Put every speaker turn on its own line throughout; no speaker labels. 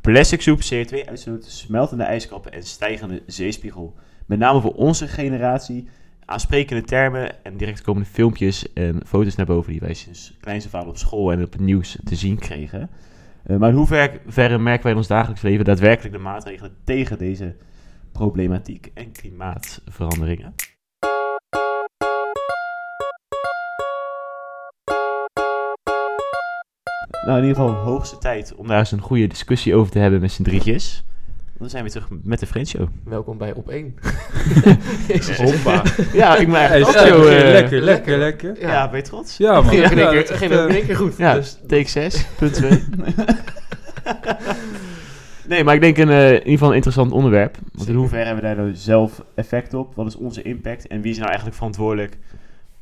Plastic soep, CO2-uitstoot, smeltende ijskappen en stijgende zeespiegel. Met name voor onze generatie. Aansprekende termen en direct komende filmpjes en foto's naar boven die wij sinds kleinste vader op school en op het nieuws te zien kregen. Eh, maar in hoeverre merken wij in ons dagelijks leven daadwerkelijk de maatregelen tegen deze problematiek en klimaatveranderingen? Nou, in ieder geval hoogste tijd om daar eens een goede discussie over te hebben met z'n drietjes. Want Dan zijn we terug met de Friendshow.
Welkom bij Op 1.
Hoppa.
Ja, ik ben
Ja,
eigenlijk ook
lekker,
zo... eh,
lekker, lekker, lekker.
Ja, ben je trots?
Ja, man.
ging ook in één
Ja,
keer-
dat- eh,
ging ook in één keer goed.
Ja,
Dus
take 6, punt 2. nee, maar ik denk een, eh, in ieder geval een interessant onderwerp. Want in
Zeker.
hoeverre hebben we daar nou zelf effect op? Wat is onze impact? En wie is nou eigenlijk verantwoordelijk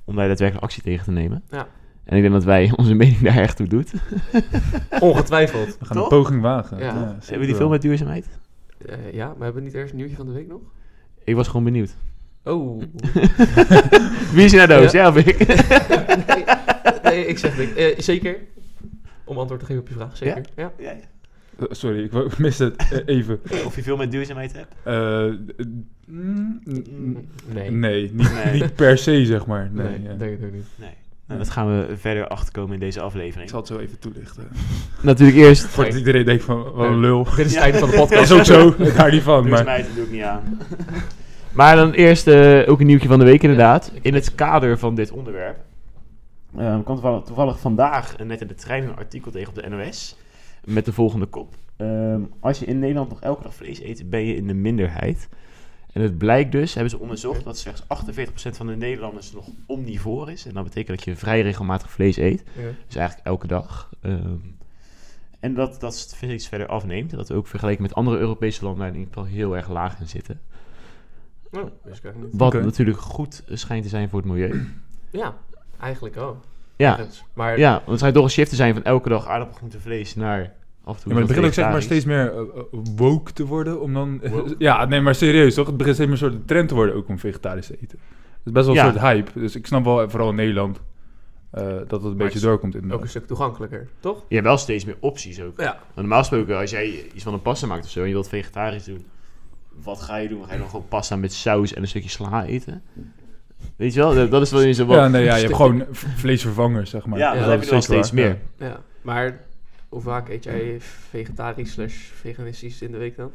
om daar daadwerkelijk actie tegen te nemen?
Ja.
En ik denk dat wij onze mening daar echt toe doet.
ongetwijfeld.
We gaan
Toch?
een poging wagen.
Ja.
zeker
Hebben we die
wel.
veel met duurzaamheid?
Eh, ja, maar hebben we niet eerst een nieuwtje van de week nog?
Ik was gewoon benieuwd.
Oh.
Wie is er nou doos?
Ja.
Ja. of ik?
nee, nee, ik zeg niks. Eh, zeker. Om antwoord te geven op je vraag, zeker. Ja?
Eh, Sorry, ik wou- miste het eh, even.
Of je veel met duurzaamheid hebt?
Eh, mm, n-
Nee.
nee, niet,
Nee.
niet per se, zeg maar. Nee,
Nee,
ja.
denk ik ook niet.
Nee. Nou, dat gaan we verder achterkomen in deze
Ik
aflevering.
zal het zo even toelichten.
Natuurlijk eerst...
eh, Voordat iedereen denkt van, wat een lul.
Dit is het
Ja.
einde van de
Dat is
podcast.
ook zo, daar niet van. Maar
Duurzaamheid, dat doe ik niet aan. Maar dan eerst eh, ook een nieuwtje van de week inderdaad. In het kader van dit onderwerp. Eh, ik kwam toevallig, toevallig vandaag eh, net in de trein een artikel tegen op de NOS. Met de volgende kop. Ehm, als je in Nederland nog elke dag vlees eet, ben je in de minderheid. En het blijkt dus, hebben ze onderzocht, dat slechts 48% van de Nederlanders nog omnivoor is. En dat betekent dat je vrij regelmatig vlees eet.
Ja.
Dus eigenlijk elke dag. Ehm, en dat dat het steeds verder afneemt. En dat we ook vergeleken met andere Europese landen daar in ieder geval heel erg laag in zitten.
Oh, wist ik eigenlijk niet.
Wat
Oké.
natuurlijk goed schijnt te zijn voor het milieu.
Ja, eigenlijk wel.
Ja,
Ergens. Maar
ja want het schijnt toch een shift te zijn van elke dag aardappel, groente, vlees naar af en toe.
Ja, maar het
wat
begint ook zeg maar
vegetarisch.
steeds meer eh, eh, woke te worden om dan...
Woke?
ja, nee, maar serieus toch? Het begint steeds meer een soort trend te worden ook om vegetarisch te eten. Het is best wel een
Ja.
soort hype. Dus ik snap wel, eh, vooral in Nederland, eh, dat het een beetje
het is
doorkomt in
ook een stuk toegankelijker, toch?
Je hebt wel steeds meer opties ook.
Ja.
Want normaal gesproken, als jij iets van een pasta maakt of zo en je wilt vegetarisch doen, wat ga je doen? Ga je dan gewoon pasta met saus en een stukje sla eten? Weet je wel, dat, dat is wel eens een wat.
Ja, nee, ja, je hebt
Stuk-
gewoon v- vleesvervangers, zeg maar.
Ja,
dat
dat heb
is
je wel
zeker
steeds
waar,
meer.
Ja. Maar hoe vaak eet jij vegetarisch slash veganistisch in de week dan?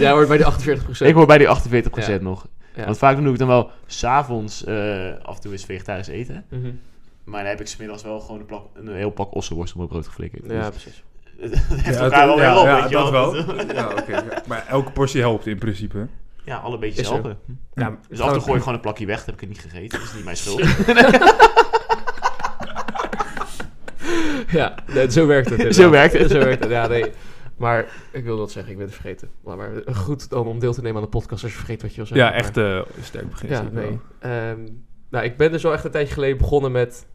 Jij hoort bij de 48
Ik hoor bij die 48% nog.
Ja.
Want vaak doe ik dan wel s'avonds eh af en toe eens vegetarisch eten.
Mhm.
Maar dan heb ik smiddags wel gewoon een, plak, een heel pak ossenworst op mijn brood geflikkerd. Dus
Ja, precies.
het heeft
Ja,
elkaar wel
ja,
weer op,
ja,
weet je
dat wel.
wel.
Ja, oké, ja. Maar elke portie helpt in principe.
Ja, alle beetjes
Is zo.
helpen.
Ja,
Dus af en toe gooi ik gewoon een plakje weg, dat heb ik het niet gegeten. Dat is niet mijn schuld.
Ja, nee, zo werkt het.
Zo
inderdaad.
werkt het.
Zo werkt het, ja, nee. Maar ik wil dat zeggen, ik ben het vergeten. Maar, maar goed dan om deel te nemen aan de podcast als je vergeet wat je wil zeggen.
Ja,
maar-
echt eh, sterk begin.
Ja,
zeg maar.
nee. Ehm, nou, ik ben dus wel echt een tijdje geleden begonnen met...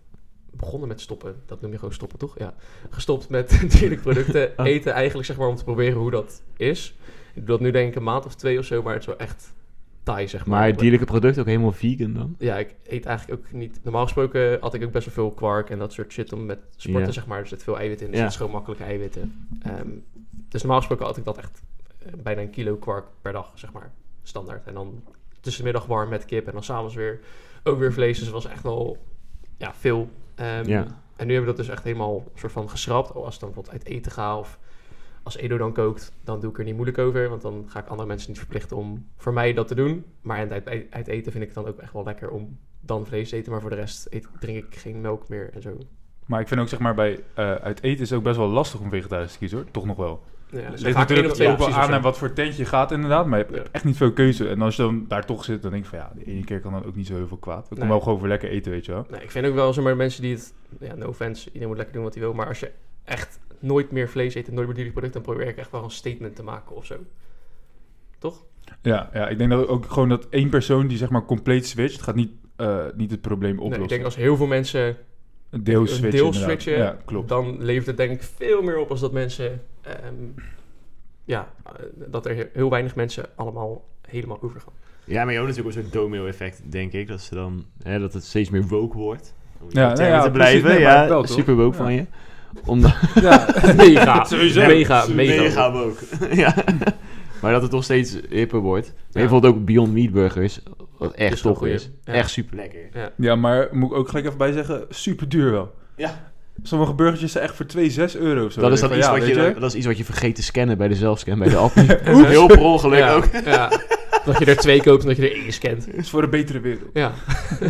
Begonnen met stoppen. Dat noem je gewoon stoppen, toch? Ja. Gestopt met dierlijke producten.
Oh.
Eten eigenlijk, zeg maar, om te proberen hoe dat is. Ik doe dat nu denk ik een maand of twee of zo, maar het is wel echt taai, zeg maar.
Maar dierlijke producten ook helemaal vegan dan?
Ja, ik eet eigenlijk ook niet... Normaal gesproken had ik ook best wel veel kwark en dat soort shit om met sporten,
Ja.
zeg maar. Er zit veel eiwit in, er
Ja.
zit gewoon makkelijke eiwitten. Ehm, dus normaal gesproken had ik dat echt eh, bijna een kilo kwark per dag, zeg maar, standaard. En dan tussen de middag warm met kip en dan s'avonds weer ook weer vlees. Dus het was echt wel ja, veel. Ehm,
Ja.
En nu hebben we dat dus echt helemaal soort van geschrapt. Oh, als ik dan bijvoorbeeld uit eten ga of als Edo dan kookt, dan doe ik er niet moeilijk over. Want dan ga ik andere mensen niet verplichten om voor mij dat te doen. Maar aan het uit, uit eten vind ik het dan ook echt wel lekker om dan vlees te eten. Maar voor de rest eet, drink ik geen melk meer en zo.
Maar ik vind ook zeg maar bij eh, uit eten is het ook best wel lastig om vegetarisch te kiezen hoor. Toch nog wel.
Ja,
Het
dus
ligt
ga ik één
natuurlijk
of twee
ook wel
opties of
aan
zo.
naar wat voor tentje je gaat inderdaad, maar je hebt
Ja.
echt niet veel keuze. En als je dan daar toch zit, dan denk ik van ja, de ene keer kan dan ook niet zo heel veel kwaad. We
Nee.
komen wel gewoon voor lekker eten, weet je wel.
Nee, ik vind ook wel zomaar mensen die het... Ja, no offense, iedereen moet lekker doen wat hij wil. Maar als je echt nooit meer vlees eet en nooit meer dierlijk product... dan probeer ik echt wel een statement te maken of zo. Toch?
Ja, ja, ik denk dat ook gewoon dat één persoon die zeg maar compleet switcht, gaat niet, eh, niet het probleem
Nee,
oplossen.
ik denk als heel veel mensen
Een deel
een
switchen
deel
inderdaad.
switchen,
Ja, klopt.
dan levert het denk ik veel meer op als dat mensen... ehm, ja, eh, dat er he- heel weinig mensen allemaal helemaal overgaan.
Ja, maar je hebt natuurlijk ook zo'n domino-effect, denk ik. Dat, ze dan, hè, dat het steeds meer woke wordt. Om in
Ja,
die
nou
termen
ja,
te
precies.
blijven.
Nee, maar
ja,
wel, toch?
super woke
Ja.
van je.
Omdat...
Ja,
mega,
Sowieso.
mega, mega.
Mega ook. ja. Maar dat het nog steeds hipper wordt. En
Ja.
bijvoorbeeld ook Beyond Meat Burgers. Wat
Is
echt
wel
top
goeie.
is.
Ja.
Echt super lekker.
ja, maar moet ik ook gelijk even bij zeggen, super duur wel.
Ja.
Sommige burgertjes zijn echt voor 2, 6 euro of zo.
Dat is dan
Denk
iets,
van, ja,
wat
weet
je, dat is iets wat je vergeet te scannen bij de zelfscan, bij de app.
Oeps.
Heel per ongeluk
ja,
ook.
ja. Dat je er twee koopt en dat je er één scant.
Het is voor een betere wereld.
Ja.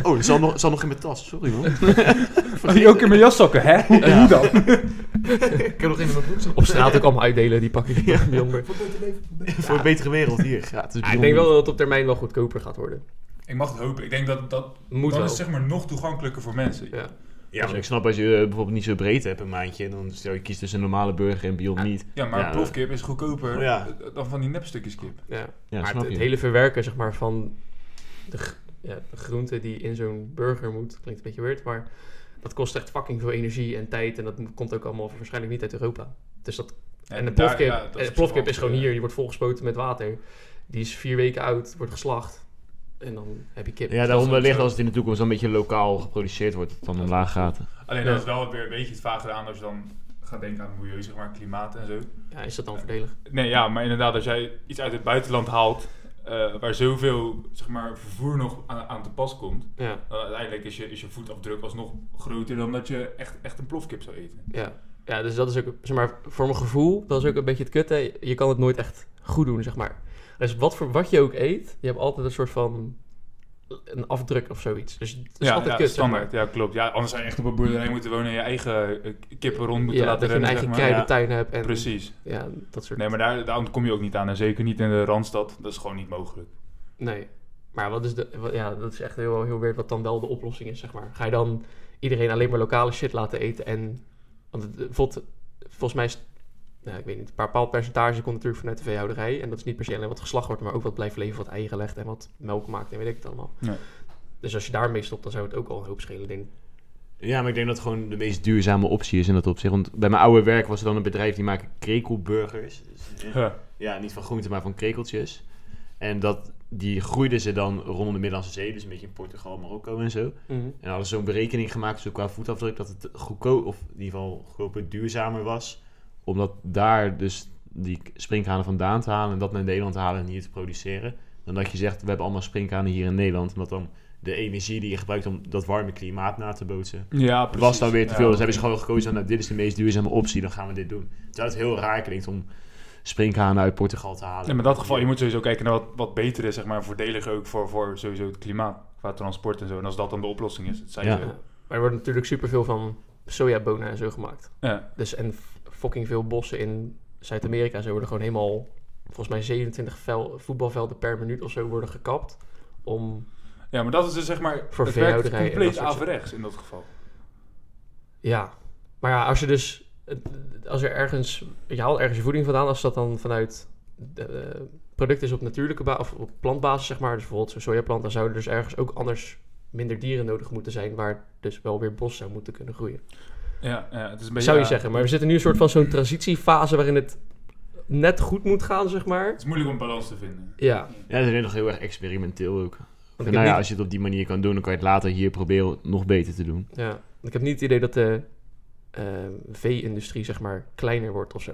Oh, het zal nog, het zal nog in mijn tas. Sorry man.
Oh, die ook in mijn jaszakken, hè? Hoe
Ja.
hoe dan?
Ik heb nog even mijn broek
Op straat ook allemaal uitdelen, die pak ik ja. jammer.
Voor een betere wereld hier. Gratis.
ik denk wel dat het op termijn wel goedkoper gaat worden.
Ik mag het hopen. Ik denk dat dat
Moet
dan
wel.
is zeg maar nog toegankelijker voor mensen.
Ja.
Ja, maar ik snap als je eh, bijvoorbeeld niet zo breed hebt een maandje. En dan stel je kiest tussen een normale burger en Beyond
Ja.
Meat.
Ja, maar
Ja,
plofkip is goedkoper
Oh, ja.
dan van die nepstukjes kip.
Ja.
Ja,
maar
snap
het,
je.
het hele verwerken zeg maar, van de, gr- ja, de groente die in zo'n burger moet, klinkt een beetje weird, maar dat kost echt fucking veel energie en tijd en dat mo- komt ook allemaal waarschijnlijk niet uit Europa. Dus dat, en de
daar-
plofkip,
ja, dat
en de
op
plofkip
zich
is gewoon
wel-
hier, die wordt volgespoten met water. Die is vier weken oud, wordt geslacht en dan heb je
Ja,
kip. Dus dat
daarom
is ook
wellicht
zo.
als het in de toekomst een beetje lokaal geproduceerd wordt, dat het dan omlaag gaat.
Alleen
Ja.
dat is wel weer een beetje het vage aan als je dan gaat denken aan milieu, zeg maar, klimaat en zo.
Ja, is dat dan voordelig?
Nee, ja, maar inderdaad, als jij iets uit het buitenland haalt eh, waar zoveel zeg maar, vervoer nog aan, aan te pas komt,
Ja,
dan uiteindelijk is je, is je voetafdruk alsnog groter dan dat je echt, echt een plofkip zou eten.
ja. Ja, dus dat is ook, zeg maar, voor mijn gevoel, dat is ook een beetje het kutte. Je kan het nooit echt goed doen, zeg maar. Dus wat, voor, wat je ook eet, je hebt altijd een soort van een afdruk of zoiets. Dus het is altijd kut, zeg maar.
standaard. Ja, klopt. Ja, anders zou je echt op een boerderij moeten wonen en je eigen eh, kippen rond moeten
Ja,
laten
dat je een
rennen,
eigen
zeg maar.
kruidentuin hebt en
Precies.
ja, dat soort...
Nee, maar daar, daar kom je ook niet aan. En zeker niet in de Randstad. Dat is gewoon niet mogelijk.
Nee. Maar wat is de, wat- ja, dat is echt heel, heel weird wat dan wel de oplossing is, zeg maar. Ga je dan iedereen alleen maar lokale shit laten eten en... Want het, bijvoorbeeld, volgens mij is... Nou, ik weet niet, een bepaald percentage komt natuurlijk vanuit de veehouderij. En dat is niet per se alleen wat geslacht wordt, maar ook wat blijft leven, wat eieren legt en wat melk maakt en weet ik het allemaal.
Nee.
Dus als je daarmee stopt, dan zou het ook al een hoop schelen, denk ik.
Ja, maar ik denk dat het gewoon de meest duurzame optie is in dat opzicht. Want bij mijn oude werk was er dan een bedrijf die maken krekelburgers. Dus, eh,
Huh.
ja, niet van groenten, maar van krekeltjes. En dat, die groeiden ze dan rondom de Middellandse Zee, dus een beetje in Portugal, Marokko en zo. En hadden ze zo'n berekening gemaakt, zo qua voetafdruk, dat het goedkoop, of in ieder geval goedkoper duurzamer was. Omdat daar dus die sprinkhanen vandaan te halen en dat naar Nederland te halen en hier te produceren. Dan dat je zegt, we hebben allemaal sprinkhanen hier in Nederland. Omdat dan de energie die je gebruikt om dat warme klimaat na te bootsen,
Ja, precies.
was dan weer te veel.
Ja,
dus hebben ze gewoon gekozen, nou, dit is de meest duurzame optie, dan gaan we dit doen. Terwijl het heel raar klinkt om sprinkhanen uit Portugal te halen.
Ja, maar in dat geval, je moet sowieso kijken naar wat, wat beter is, zeg maar, voordeliger ook voor, voor sowieso het klimaat, qua transport en zo. En als dat dan de oplossing is, dat zijn
Ja.
ze.
Ja. Maar er wordt natuurlijk superveel van sojabonen en zo gemaakt.
Ja.
Dus en f- fucking veel bossen in Zuid-Amerika en zo worden gewoon helemaal, volgens mij 27 vel- voetbalvelden per minuut of zo worden gekapt. Om,
ja, maar dat is dus zeg maar,
Voor
het werkt
veehouderij en
compleet
dat soort zaken.
averechts in dat geval.
ja. Maar ja, als je dus, het- als er ergens, je haalt ergens je voeding vandaan, als dat dan vanuit de, eh, product is op natuurlijke basis, of op plantbasis zeg maar, dus bijvoorbeeld zo'n sojaplant, dan zouden dus ergens ook anders minder dieren nodig moeten zijn, waar dus wel weer bos zou moeten kunnen groeien.
Ja, ja het is een beetje...
Zou je
ja,
zeggen, maar we zitten nu een soort van zo'n transitiefase waarin het net goed moet gaan, zeg maar.
Het is moeilijk om balans te vinden.
Ja,
Ja, dat is nog heel erg experimenteel ook.
want ik heb
nou ja,
niet-
als je het op die manier kan doen, dan kan je het later hier proberen nog beter te doen.
Ja, want ik heb niet het idee dat de eh, vee-industrie zeg maar kleiner wordt of zo.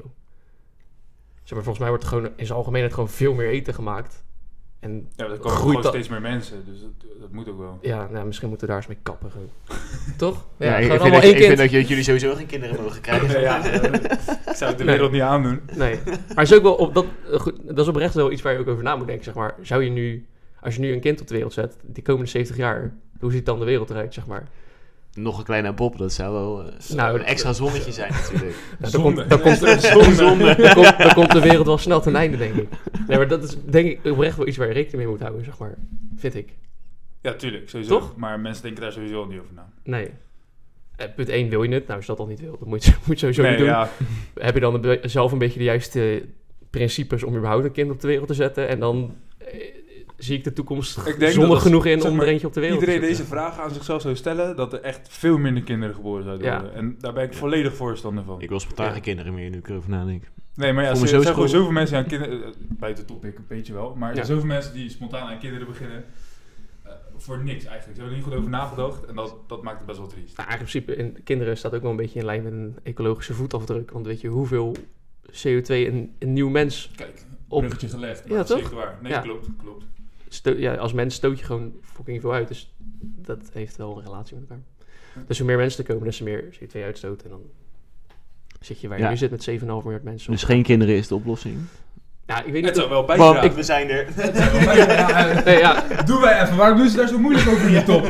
Zeg maar, volgens mij wordt er gewoon in zijn algemeenheid gewoon veel meer eten gemaakt. En
Ja, er komen
Groeit
gewoon
dat-
steeds meer mensen, dus dat, dat moet ook wel.
ja, nou, misschien moeten we daar eens mee kappen. gewoon. Toch? Ja,
Ja, ik,
gewoon
ik, vind
allemaal
dat, je-
één
ik vind
kind.
dat je- dat jullie sowieso geen kinderen mogen krijgen.
Nee, ja, ik zou het de wereld niet aandoen.
Nee. Maar is ook wel op dat, eh, goed, dat is oprecht wel iets waar je ook over na moet denken, zeg maar. Zou je nu, als je nu een kind op de wereld zet, die komende 70 jaar, hoe ziet dan de wereld eruit, zeg maar?
Nog een kleine bob, dat zou wel eh,
Nou,
een extra zonnetje zijn natuurlijk.
Nou, dan,
Zonde.
komt, dan, komt,
Zonde.
dan, komt, dan komt de wereld wel snel ten einde, denk ik. Nee, maar dat is denk ik oprecht wel iets waar je rekening mee moet houden, zeg maar. Vind ik.
Ja, tuurlijk, sowieso.
Toch?
Maar mensen denken daar sowieso al niet over na.
Nee. Eh, punt 1 wil je het. Nou, als je dat al niet wil, dan moet je, moet je sowieso
nee,
niet doen.
ja,
Heb je dan een be- zelf een beetje de juiste principes om überhaupt een kind op de wereld te zetten? En dan eh, zie ik de toekomst
denk dat
zonnig
als-
genoeg in
zeg
om er
maar,
eentje op de wereld
iedereen
te
deze
zetten.
vraag aan zichzelf zou stellen, dat er echt veel minder kinderen geboren zouden
Ja.
worden. En daar ben ik volledig voorstander van.
Ik wil spontaan
Ja.
geen kinderen meer, nu ik erover nadenk.
Nee, maar ja,
Voel
er
me
zijn
zo
gewoon
schuldig.
zoveel mensen aan kinderen... eh, Buiten topic, een beetje wel. Maar er
Ja.
zijn zoveel mensen die spontaan aan kinderen beginnen. eh, voor niks eigenlijk. Ze hebben er niet goed over nagedacht en dat, dat maakt het best wel triest.
Nou, eigenlijk in principe, in kinderen staat ook wel een beetje in lijn met een ecologische voetafdruk. Want weet je hoeveel CO2 een, een nieuw mens...
Kijk,
Op-
bruggetje gelegd. maar
Ja,
dat is
toch?
zeker waar. Nee,
Ja.
klopt, klopt.
sto- ja, als mens stoot je gewoon fucking veel uit. Dus dat heeft wel een relatie met elkaar. Dus hoe meer mensen er komen, des te meer CO2 uitstoot. En dan zit je waar je
Ja.
nu zit met 7,5 miljard mensen.
Dus geen kinderen is de oplossing.
Ja, ik weet
Het
niet...
zou wel
Want
bijdragen.
we zijn er.
Het zou wel bijdragen.
Nee, ja,
Doe wij even. Waarom doen ze daar zo moeilijk over in die top?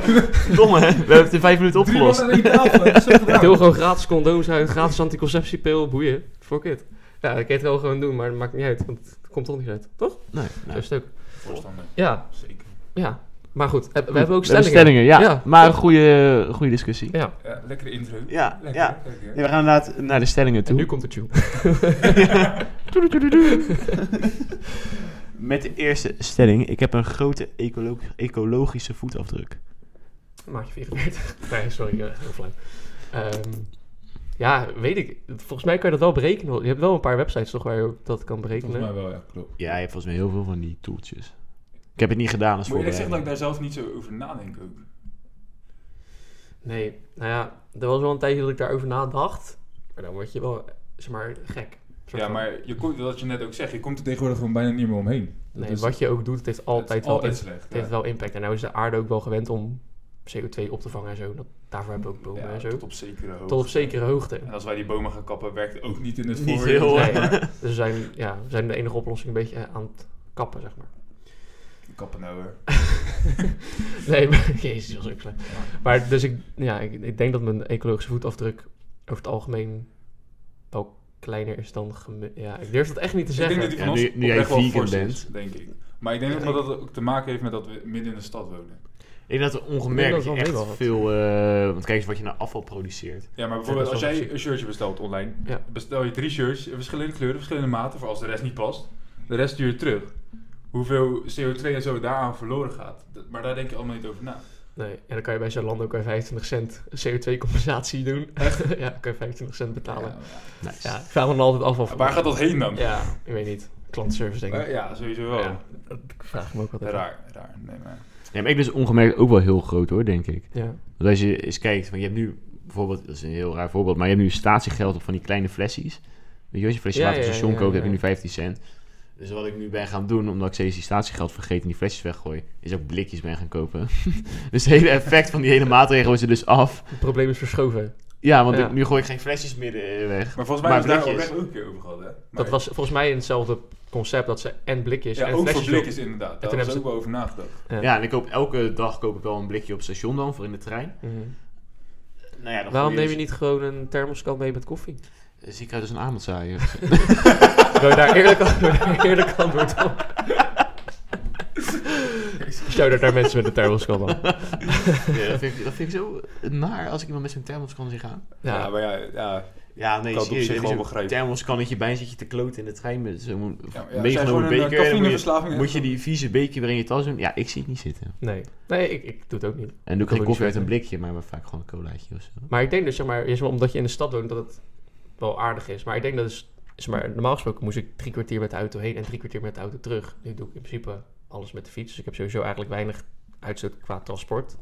Domme, hè? we hebben het in vijf minuten
Drie man
opgelost.
aan één tafel. Dat is zo
ik deel
gedaan.
gewoon gratis condooms uit, gratis anticonceptiepil, boeien. Fuck it. Ja, dat kan je het wel gewoon doen, maar dat maakt niet uit. Want het komt toch niet uit, toch?
Nee,
Zo
nee.
is het ook.
Voorstander,
Ja,
zeker.
ja. Maar goed, eh, we, we hebben ook stellingen.
ja.
Ja.
Maar een goede, goede discussie.
Ja,
Ja, lekkere intro.
Ja,
Lekker,
ja.
lekker.
Nee, we gaan inderdaad naar de stellingen
en
toe.
nu komt de tune.
Met de eerste stelling. Ik heb een grote ecolo- ecologische voetafdruk.
Maatje 44. Nee, sorry, eh, heel flauw. Ehm, ja, weet ik. Volgens mij kan je dat wel berekenen. Je hebt wel een paar websites toch waar je ook dat kan
Volgens
berekenen.
mij wel, ja, klopt.
Ja, je hebt volgens mij heel veel van die toeltjes. Ik heb het niet gedaan als
Moet
voorbereiding.
eerlijk zeggen dat ik daar zelf niet zo over nadenk ook.
Nee, nou ja, er was wel een tijdje dat ik daarover nadacht. Maar dan word je wel, zeg maar, gek. Soort
Ja,
van.
maar je komt, wat je net ook zegt, je komt er tegenwoordig gewoon bijna niet meer omheen. Dat
Nee,
is-
wat je ook doet, het heeft
het is
altijd, wel,
altijd
imp-
slecht.
het heeft wel impact. En nou is de aarde ook wel gewend om CO2 op te vangen en zo. Dat, daarvoor hebben we ook bomen
Ja,
en zo.
tot
Tot op,
op zekere hoogte.
zekere hoogte.
En als wij die bomen gaan kappen, werkt het ook niet in het
Niet
voordeel.
heel, eh,
zeg
hè?
maar.
Dus we zijn, ja, we zijn de enige oplossing een beetje eh, aan het kappen, zeg maar.
Kappen nou hoor.
Nee, maar, jezus, dat was ook slecht. Maar dus ik, ja, ik, ik denk dat mijn ecologische voetafdruk over het algemeen wel kleiner is dan... geme- Ja, ik durf dat echt niet te
Ik denk dat
zeggen.
die
Ja,
van
nu-
ons
nu jij
oprecht wel
vegan
fors
bent.
is, denk ik. Maar ik denk
Ja,
ook dat dat ook te maken heeft met dat we midden in de stad wonen.
Ik denk dat we
Ik
ongemerkt
denk dat
je
het wel
echt
mee
veel... eh, want kijk eens wat je naar afval produceert.
Ja, maar bijvoorbeeld
Ja,
als
dat is wel
jij
precies.
een shirtje bestelt online,
Ja.
bestel je drie shirts, in verschillende kleuren, verschillende maten, voor als de rest niet past. De rest stuur je terug. Hoeveel CO2 en zo daaraan verloren gaat. Dat- Maar daar denk je allemaal niet over na.
Nee, en dan kan je bij zo'n land ook bij 25 cent CO2-compensatie doen. ja, dan kan je 25 cent betalen. Ja,
Ja,
Nice.
ik vraag me dan altijd af of...
Waar gaat dat heen dan?
Ja, ik weet niet. Klantservice, denk
Maar
ik.
ja, sowieso wel.
Ja. Ik vraag me ook altijd af.
Raar, raar. Nee, maar...
Nee, maar ik dus ongemerkt ook wel heel groot hoor, denk ik.
Ja.
Want als je eens kijkt, van je hebt nu bijvoorbeeld, dat is een heel raar voorbeeld, maar je hebt nu statiegeld op van die kleine flesjes. Weet je, als je flesje
Ja,
water op
ja,
het station
ja,
koopt,
ja.
heb je nu 15 cent. Dus wat ik nu ben gaan doen, omdat ik steeds die statiegeld vergeet en die flesjes weggooi, is ook blikjes ben gaan kopen. dus het hele effect van die hele maatregel is er dus af.
Het probleem is verschoven.
Ja, want
Ja.
ik- nu gooi ik geen flesjes meer eh, weg.
Maar volgens mij
Maar
hebben we daar
blikjes.
oprecht ook een keer over gehad, hè? Maar-
Dat was volgens mij in hetzelfde concept dat ze en blikjes
ja,
en
ook voor
flesjes... op-
blikjes inderdaad. Daar
toen
hebben
hebben
ze
ze-
ook wel over nagedacht.
Ja.
Ja. en ik koop elke dag koop ik wel een blikje op het station dan, voor in de trein.
Mhm.
Nou ja, dan
Waarom
gooi
neem je niet gewoon een thermoskan mee met koffie?
dus- Zie ik uit als een avondzaaier.
Wil je daar eerlijk, wil je daar eerlijk antwoord op? Shout-out naar mensen met een thermoskan dan.
ja, dat, vind ik, dat vind ik zo naar als ik iemand met zijn thermos kan zien gaan.
Ja,
Ja,
maar ja, ja.
Ja, nee,
Kan het op
serieus,
zich
er
wel
is een
begrijpen.
thermoskannetje bij en zit je te kloten in de trein met zo'n
ja, ja. Zijn gewoon
meegenomen
een
beker.
eh,
en dan moet je-
cafeïneverslaving.
Moet je die vieze beker weer in je tas doen? Ja, ik zie het niet zitten.
nee. Nee, ik, ik doe het ook niet.
En doe ik
Kan
geen
ook
koffie
niet
uit een
zitten.
blikje, maar vaak gewoon een colaatje of zo.
Maar ik denk dus, zeg maar, is maar omdat je in de stad woont, dat het wel aardig is. Maar ik denk dat dus, zeg maar, normaal gesproken moest ik drie kwartier met de auto heen en drie kwartier met de auto terug. Nu doe ik in principe alles met de fiets. Dus ik heb sowieso eigenlijk weinig uitstoot qua transport.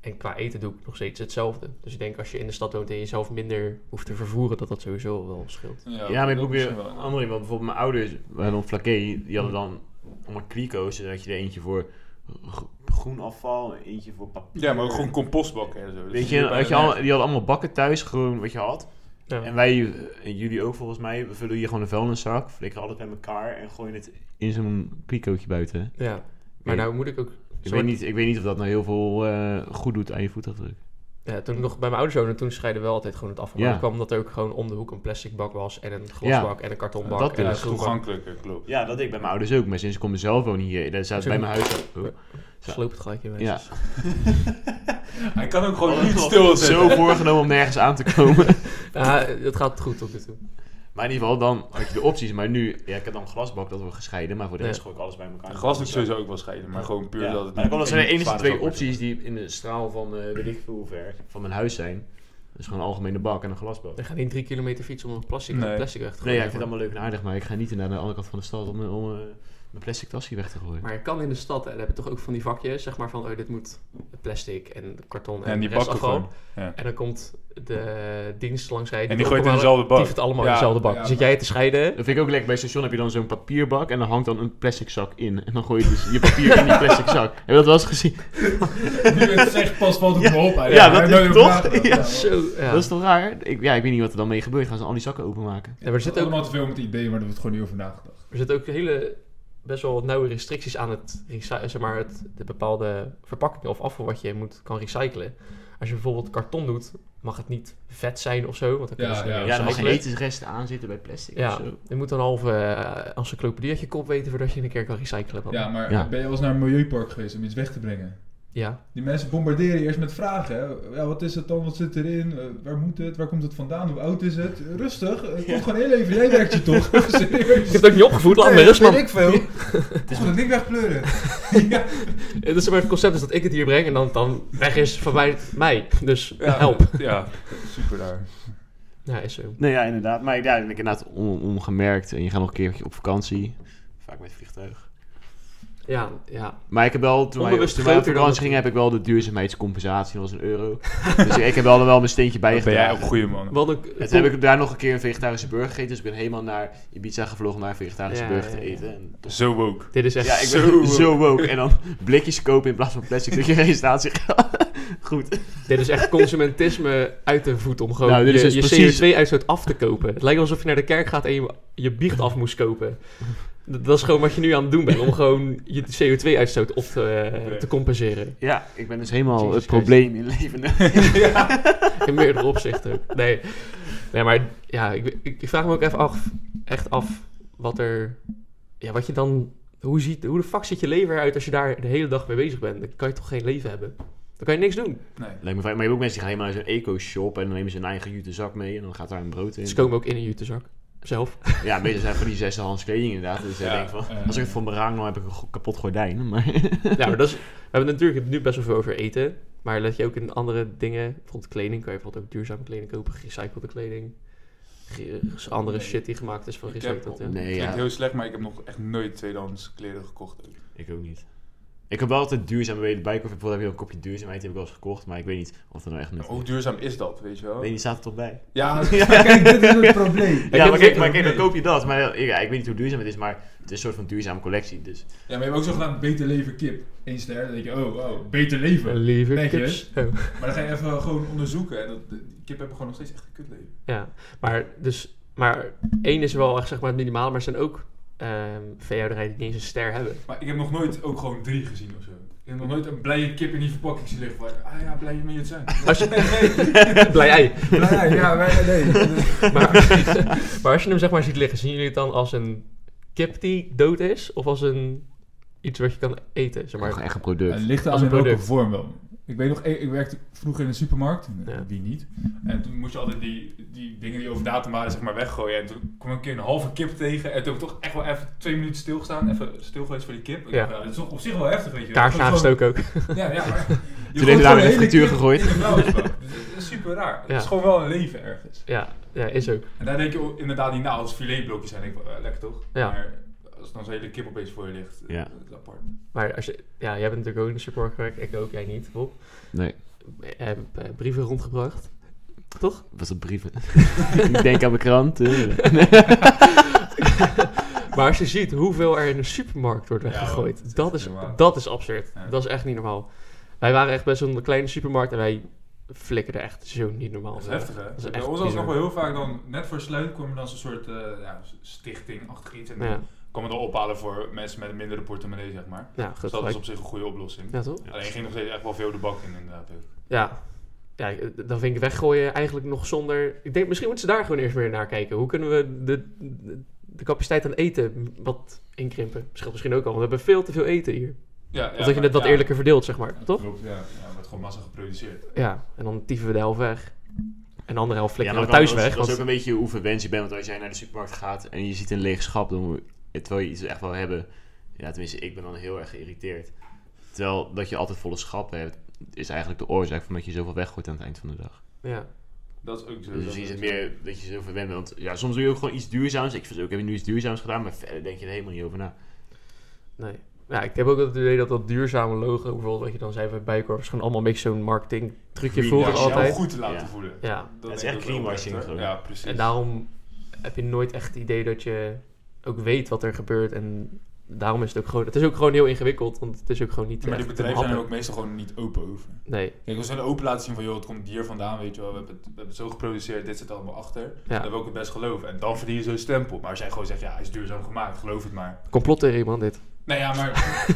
En qua eten doe ik nog steeds hetzelfde. Dus ik denk als je in de stad woont en jezelf minder hoeft te vervoeren, dat dat sowieso wel scheelt.
Ja, maar ik heb ook
misschien
weer
wel.
een andere. Want bijvoorbeeld mijn ouders, we hadden een flaké, die hadden dan allemaal kliko's. En dan had je er eentje voor gro- groen afval, eentje voor papier.
Ja, maar ook gewoon compostbakken en zo. Dat
Weet
zie
je,
bijna
had je
nergens.
al, die hadden allemaal bakken thuis, gewoon wat je had.
Ja.
En wij, en jullie ook volgens mij, we vullen hier gewoon een vuilniszak, flikkeren alles bij elkaar en gooien het in zo'n klikootje buiten.
ja. Maar nou moet ik ook...
Ik
soort-
weet, niet, ik weet niet of dat nou heel veel eh, goed doet aan je voetafdruk.
Ja, toen ik nog bij mijn ouders woonde, toen scheiden we wel altijd gewoon het afval.
Ja.
Maar dat kwam omdat er ook gewoon om de hoek een plastic bak was en een glasbak en een kartonbak.
Dat
en
Ja,
een
dus.
dat is
groenbak.
toegankelijker, klopt.
Ja, dat deed ik bij mijn ouders ook. Maar sinds ik kom mezelf woon hier, eh, daar staat
Zo.
bij mijn huis... Oh,
Sloop het gelijk in mensen.
ja.
Hij kan ook gewoon
Oh,
niet
toch. Zo
stilzetten.
voorgenomen om nergens aan te komen.
Ja, het gaat goed tot nu toe.
maar in ieder geval, dan had je de opties. Maar nu, ja, ik heb dan een glasbak, dat we gescheiden. Maar voor de rest
Ja.
gooi ik alles bij elkaar.
Glas doe ik sowieso ook wel scheiden, maar gewoon puur
Ja.
dat het
Maar dan komt er zijn
één
enige
zware
twee
zak wordt.
opties die in de straal van, eh weet ik veel hoe ver, van mijn huis zijn. Dus gewoon een algemene bak en een glasbak.
We gaan niet drie kilometer fietsen om een plastic,
Nee.
plastic weg te
Nee, ja,
gooien.
ik vind het allemaal leuk en aardig, maar ik ga niet naar de andere kant van de stad om, om eh, Een plastic tasje weg te gooien.
Maar je kan in de stad, hè, daar heb je toch ook van die vakjes, zeg maar van, oh, dit moet plastic en karton en,
En die
de rest
bakken
afval.
gewoon. Ja.
En dan komt de dienst langsrijden.
En die
doet
gooit
ook
in
allemaal-
dezelfde bak.
Die het allemaal
Ja,
in dezelfde bak.
ja,
Dan Zit jij te scheiden?
Dat vind ik ook lekker. Bij het station heb je dan zo'n papierbak en dan hangt dan een plastic zak in. En dan gooi je dus je papier in die plastic zak. Heb je dat wel eens gezien?
Nu je het zegt, pas valt het me op eigenlijk.
Ja,
Daar
dat
heb ik
is
nooit over
toch?
nagedacht.
Ja,
Zo, ja.
Dat is toch raar? Ik, ja, ik weet niet wat er dan mee gebeurt. Gaan ze al die zakken openmaken?
Ja, maar er zitten ook-
allemaal te veel met ideeën, maar er wordt gewoon niet over nagedacht.
Er zitten ook hele best wel wat nauwe restricties aan het, recy- zeg maar het de bepaalde verpakkingen of afval wat je moet kan recyclen. Als je bijvoorbeeld karton doet, mag het niet vet zijn of zo, want dan kunnen
Ja,
ze niet
ja,
meer
Ja, dan mag je
recyclen.
etensresten aan zitten bij plastic
Ja.
of zo.
Je moet een halve eh, encyclopedie uit je kop weten voordat je een keer kan recyclen. dan.
Ja, maar
Ja.
ben je wel eens naar een milieupark geweest om iets weg te brengen?
ja.
Die mensen bombarderen eerst met vragen. Hè? Ja, wat is het dan? Wat zit erin? Eh, waar moet het? Waar komt het vandaan? Hoe oud is het? Eh, Rustig. Het komt gewoon heel even. Jij werkt je toch?
Ik
Serieus.
heb het ook niet opgevoed, laat me
Nee,
rust
dat
man.
weet ik veel. Het is gewoon ding wegpleuren. ja.
Het, is, zeg maar, het concept is dat ik het hier breng en dan, dan weg is van mij, mij. Dus
Ja,
help.
Ja, super daar.
Ja, is zo.
Nee, ja, inderdaad. Maar ja, ik denk inderdaad on- ongemerkt. En je gaat nog een keertje op vakantie. Vaak met vliegtuig.
Ja, ja.
Maar ik heb wel, toen wij,
Onbewust
toen wij op
groter dan
vakantie
het-
gingen, heb ik wel de duurzaamheidscompensatie. Dat was een euro. dus ik heb wel, wel mijn steentje
Dat ben jij ook
bijgedragen.
een goede man.
Wat ook,
Het heb ik daar nog een keer een vegetarische burger gegeten. Dus ik ben helemaal naar Ibiza gevlogen om daar een vegetarische
Ja,
burger
ja,
te
ja.
eten. En toch-
Zo woke.
Dit is echt
Ja, ik ben
Zo
zo,
woke.
woke. En dan blikjes kopen in plaats van plastic. Dat je registratie Goed.
Dit is echt consumentisme uit de voet om gewoon
Nou, dit is
je,
dus
je
precies-
CO2-uitstoot af te kopen. Het lijkt alsof je naar de kerk gaat en je, je biecht af moest kopen. Dat, dat is gewoon wat je nu aan het doen bent, om gewoon je CO2-uitstoot op te, eh, te compenseren.
Ja, ik ben dus helemaal
Jezus
het probleem in leven.
In meerdere opzichten ook. Nee, nee maar ja, ik, ik, ik vraag me ook even af, echt af wat er... Ja, wat je dan... Hoe, ziet, hoe de fuck ziet je leven eruit als je daar de hele dag mee bezig bent? Dan kan je toch geen leven hebben? Dan kan je niks doen.
Nee.
Lijkt me fijn. Maar je hebt ook mensen die gaan helemaal naar zo'n eco-shop en dan nemen ze een eigen jute zak mee en dan gaat daar een brood in.
Ze komen ook in een jutezak. Zelf.
Ja, meestal zijn van die zesdehands kleding inderdaad. Dus
Ja,
ik denk van,
eh.
als ik het voor mijn raam dan heb ik een go- kapot gordijn. Maar
Ja, maar dat is, we hebben het natuurlijk nu best wel veel over eten. Maar let je ook in andere dingen. Bijvoorbeeld kleding. Kan je bijvoorbeeld ook duurzame kleding kopen. Gerecyclede kleding. Ge- andere
Nee.
shit die gemaakt is van
Ik heb
gerecycled. hè.
nee,
Klinkt
ja,
heel slecht, maar ik heb nog echt nooit tweedehands kleren gekocht. ook.
ik ook niet. Ik heb wel altijd duurzaam bij de bike. Of bijvoorbeeld heb je een kopje duurzaamheid heb ik wel eens gekocht, maar ik weet niet of dat nou echt nuttig
Hoe
is.
duurzaam is dat, weet je wel?
Ik weet niet, staat er toch bij?
Ja, kijk, dit is het probleem.
Ja,
heb
maar
het
kijk, maar
ook
kijk, dan
mee.
koop je dat. Maar eh, ja, ik weet niet hoe duurzaam het is, maar het is een soort van duurzame collectie. Dus
Ja, maar je hebt ook zogenaamd beter leven kip. Eén ster, dan denk je, oh, oh, beter leven.
Lieve
Netjes.
kips. Oh.
Maar dan ga je even gewoon...
Gewoon onderzoeken. En dat, die kippen hebben gewoon nog steeds echt een kutleven.
Ja, maar, dus, maar één is wel echt zeg maar het minimale. Maar er zijn ook ehm veehouderijen die niet eens een ster hebben.
Maar ik heb nog nooit ook gewoon drie gezien of zo. Ik heb nog nooit een blije kip in die verpakking zien liggen. Van, ah ja, blij mee het zijn.
Als je-
Nee.
Blij ei.
Ja, ja, maar nee.
Maar, maar als je hem zeg maar ziet liggen, zien jullie het dan als een kip die dood is? Of als een iets wat je kan eten? Zeg maar,
gewoon echt een product.
Het ligt
Als
aan
een
in welke
product.
vorm wel. Ik weet nog, ik ik werkte vroeger in een supermarkt.
Ja.
Wie niet?
En toen moest je altijd die, die dingen die over datum waren, zeg maar, weggooien. En toen kwam ik een keer een halve kip tegen. En toen heb ik toch echt wel even twee minuten stilgestaan. Even stil geweest voor die kip. Ik
Ja.
dacht, ja, dat is toch op zich wel heftig, weet je wel.
Kaars
Dat is gewoon-
aangestoken ook.
Ja, ja. Maar
Toen heeft hij daar weer in de frituur gegooid.
Dus, eh, Dat is super raar. Het
Ja.
is gewoon wel een leven ergens.
Ja, ja, is ook.
En daar denk je inderdaad niet na als filetblokjes zijn. Denk ik, van, eh, lekker toch?
Ja.
Maar als dan zo'n hele kip opeens voor je ligt, eh,
Ja.
dat is apart.
Maar als je, ja, jij bent natuurlijk ook in de supermarkt gewerkt, ik ook, jij niet, Bob.
Nee,
Eh, Heb eh, brieven rondgebracht. Toch?
was dat brieven? ik denk aan mijn krant. eh.
Maar als je ziet hoeveel er in de supermarkt wordt
Ja,
weggegooid,
dat is
dat,
echt
is,
niet normaal.
dat is absurd.
Ja.
Dat is echt niet normaal. Wij waren echt best wel een kleine supermarkt en wij flikkerden echt zo niet normaal.
Dat is
weg.
heftig, hè?
is
Bij
echt
ons was het
bizar.
nog wel heel vaak dan, net voor sluit, kwam er dan zo'n soort eh ja, stichting-achtig iets. En dan
Ja,
kwam het dan ophalen voor mensen met een mindere portemonnee, zeg maar.
ja
Dus
goed
dat is
gelijk.
op zich een goede oplossing.
Ja, toch?
Ja.
Alleen ging nog steeds echt wel veel de bak in, inderdaad. ook.
Ja. Ja, ik- dan vind ik weggooien eigenlijk nog zonder... Ik denk, misschien moeten ze daar gewoon eerst meer naar kijken. Hoe kunnen we de, de, de capaciteit aan eten wat inkrimpen? Dat scheelt misschien ook al, want we hebben veel te veel eten hier.
Ja, ja,
Of dat je
maar-
het wat
ja.
eerlijker verdeelt, zeg maar. Toch?
Klopt, ja. ja. Er wordt gewoon massa geproduceerd.
Ja, en dan dieven we de helft weg. En de andere helft
Ja,
flikken
maar
we thuis
dat is-
weg.
Dat is ook
want-
een beetje hoe verwend je bent. Want als jij naar de supermarkt gaat en je ziet een leeg schap, dan moet- eh, terwijl je iets echt wel hebben. Ja, tenminste, ik ben dan heel erg geïrriteerd. Terwijl dat je altijd volle schappen hebt, is eigenlijk de oorzaak van dat je zoveel weggooit aan het eind van de dag.
ja.
Dat is ook zo.
Dus
dat
misschien is het meer dat je zo verwend bent. Want ja, soms doe je ook gewoon iets duurzaams. Ik vind ook, ik heb nu iets duurzaams gedaan, maar verder denk je er helemaal niet over na.
Nee. Ja, ik heb ook het idee dat dat duurzame logo, bijvoorbeeld wat je dan zei bij Bijenkorf, is gewoon allemaal een beetje zo'n marketing trucje
Green
voor
wash,
het
ja.
om
altijd.
goed te laten
Ja.
voelen. Dat
Ja.
Het is
denk
echt
ik ook wel
greenwashing
echt, hè?
gewoon.
Ja, precies.
En daarom heb je nooit echt het idee dat je ook weet wat er gebeurt. En daarom is het ook gewoon... Het is ook gewoon heel ingewikkeld, want het is ook gewoon niet
maar die
echt
bedrijven zijn er
happen.
ook meestal gewoon niet open over.
Nee,
Kijk, we zullen open laten zien van, joh, het komt hier vandaan, weet je wel. We hebben het, we hebben het zo geproduceerd, dit zit allemaal achter. Dan
ja.
wil ik het best geloven. En dan verdien je zo'n stempel. Maar als jij gewoon zegt, ja, hij is duurzaam gemaakt, geloof het maar.
Complottheorie, man, dit.
Nee, Nou ja, maar...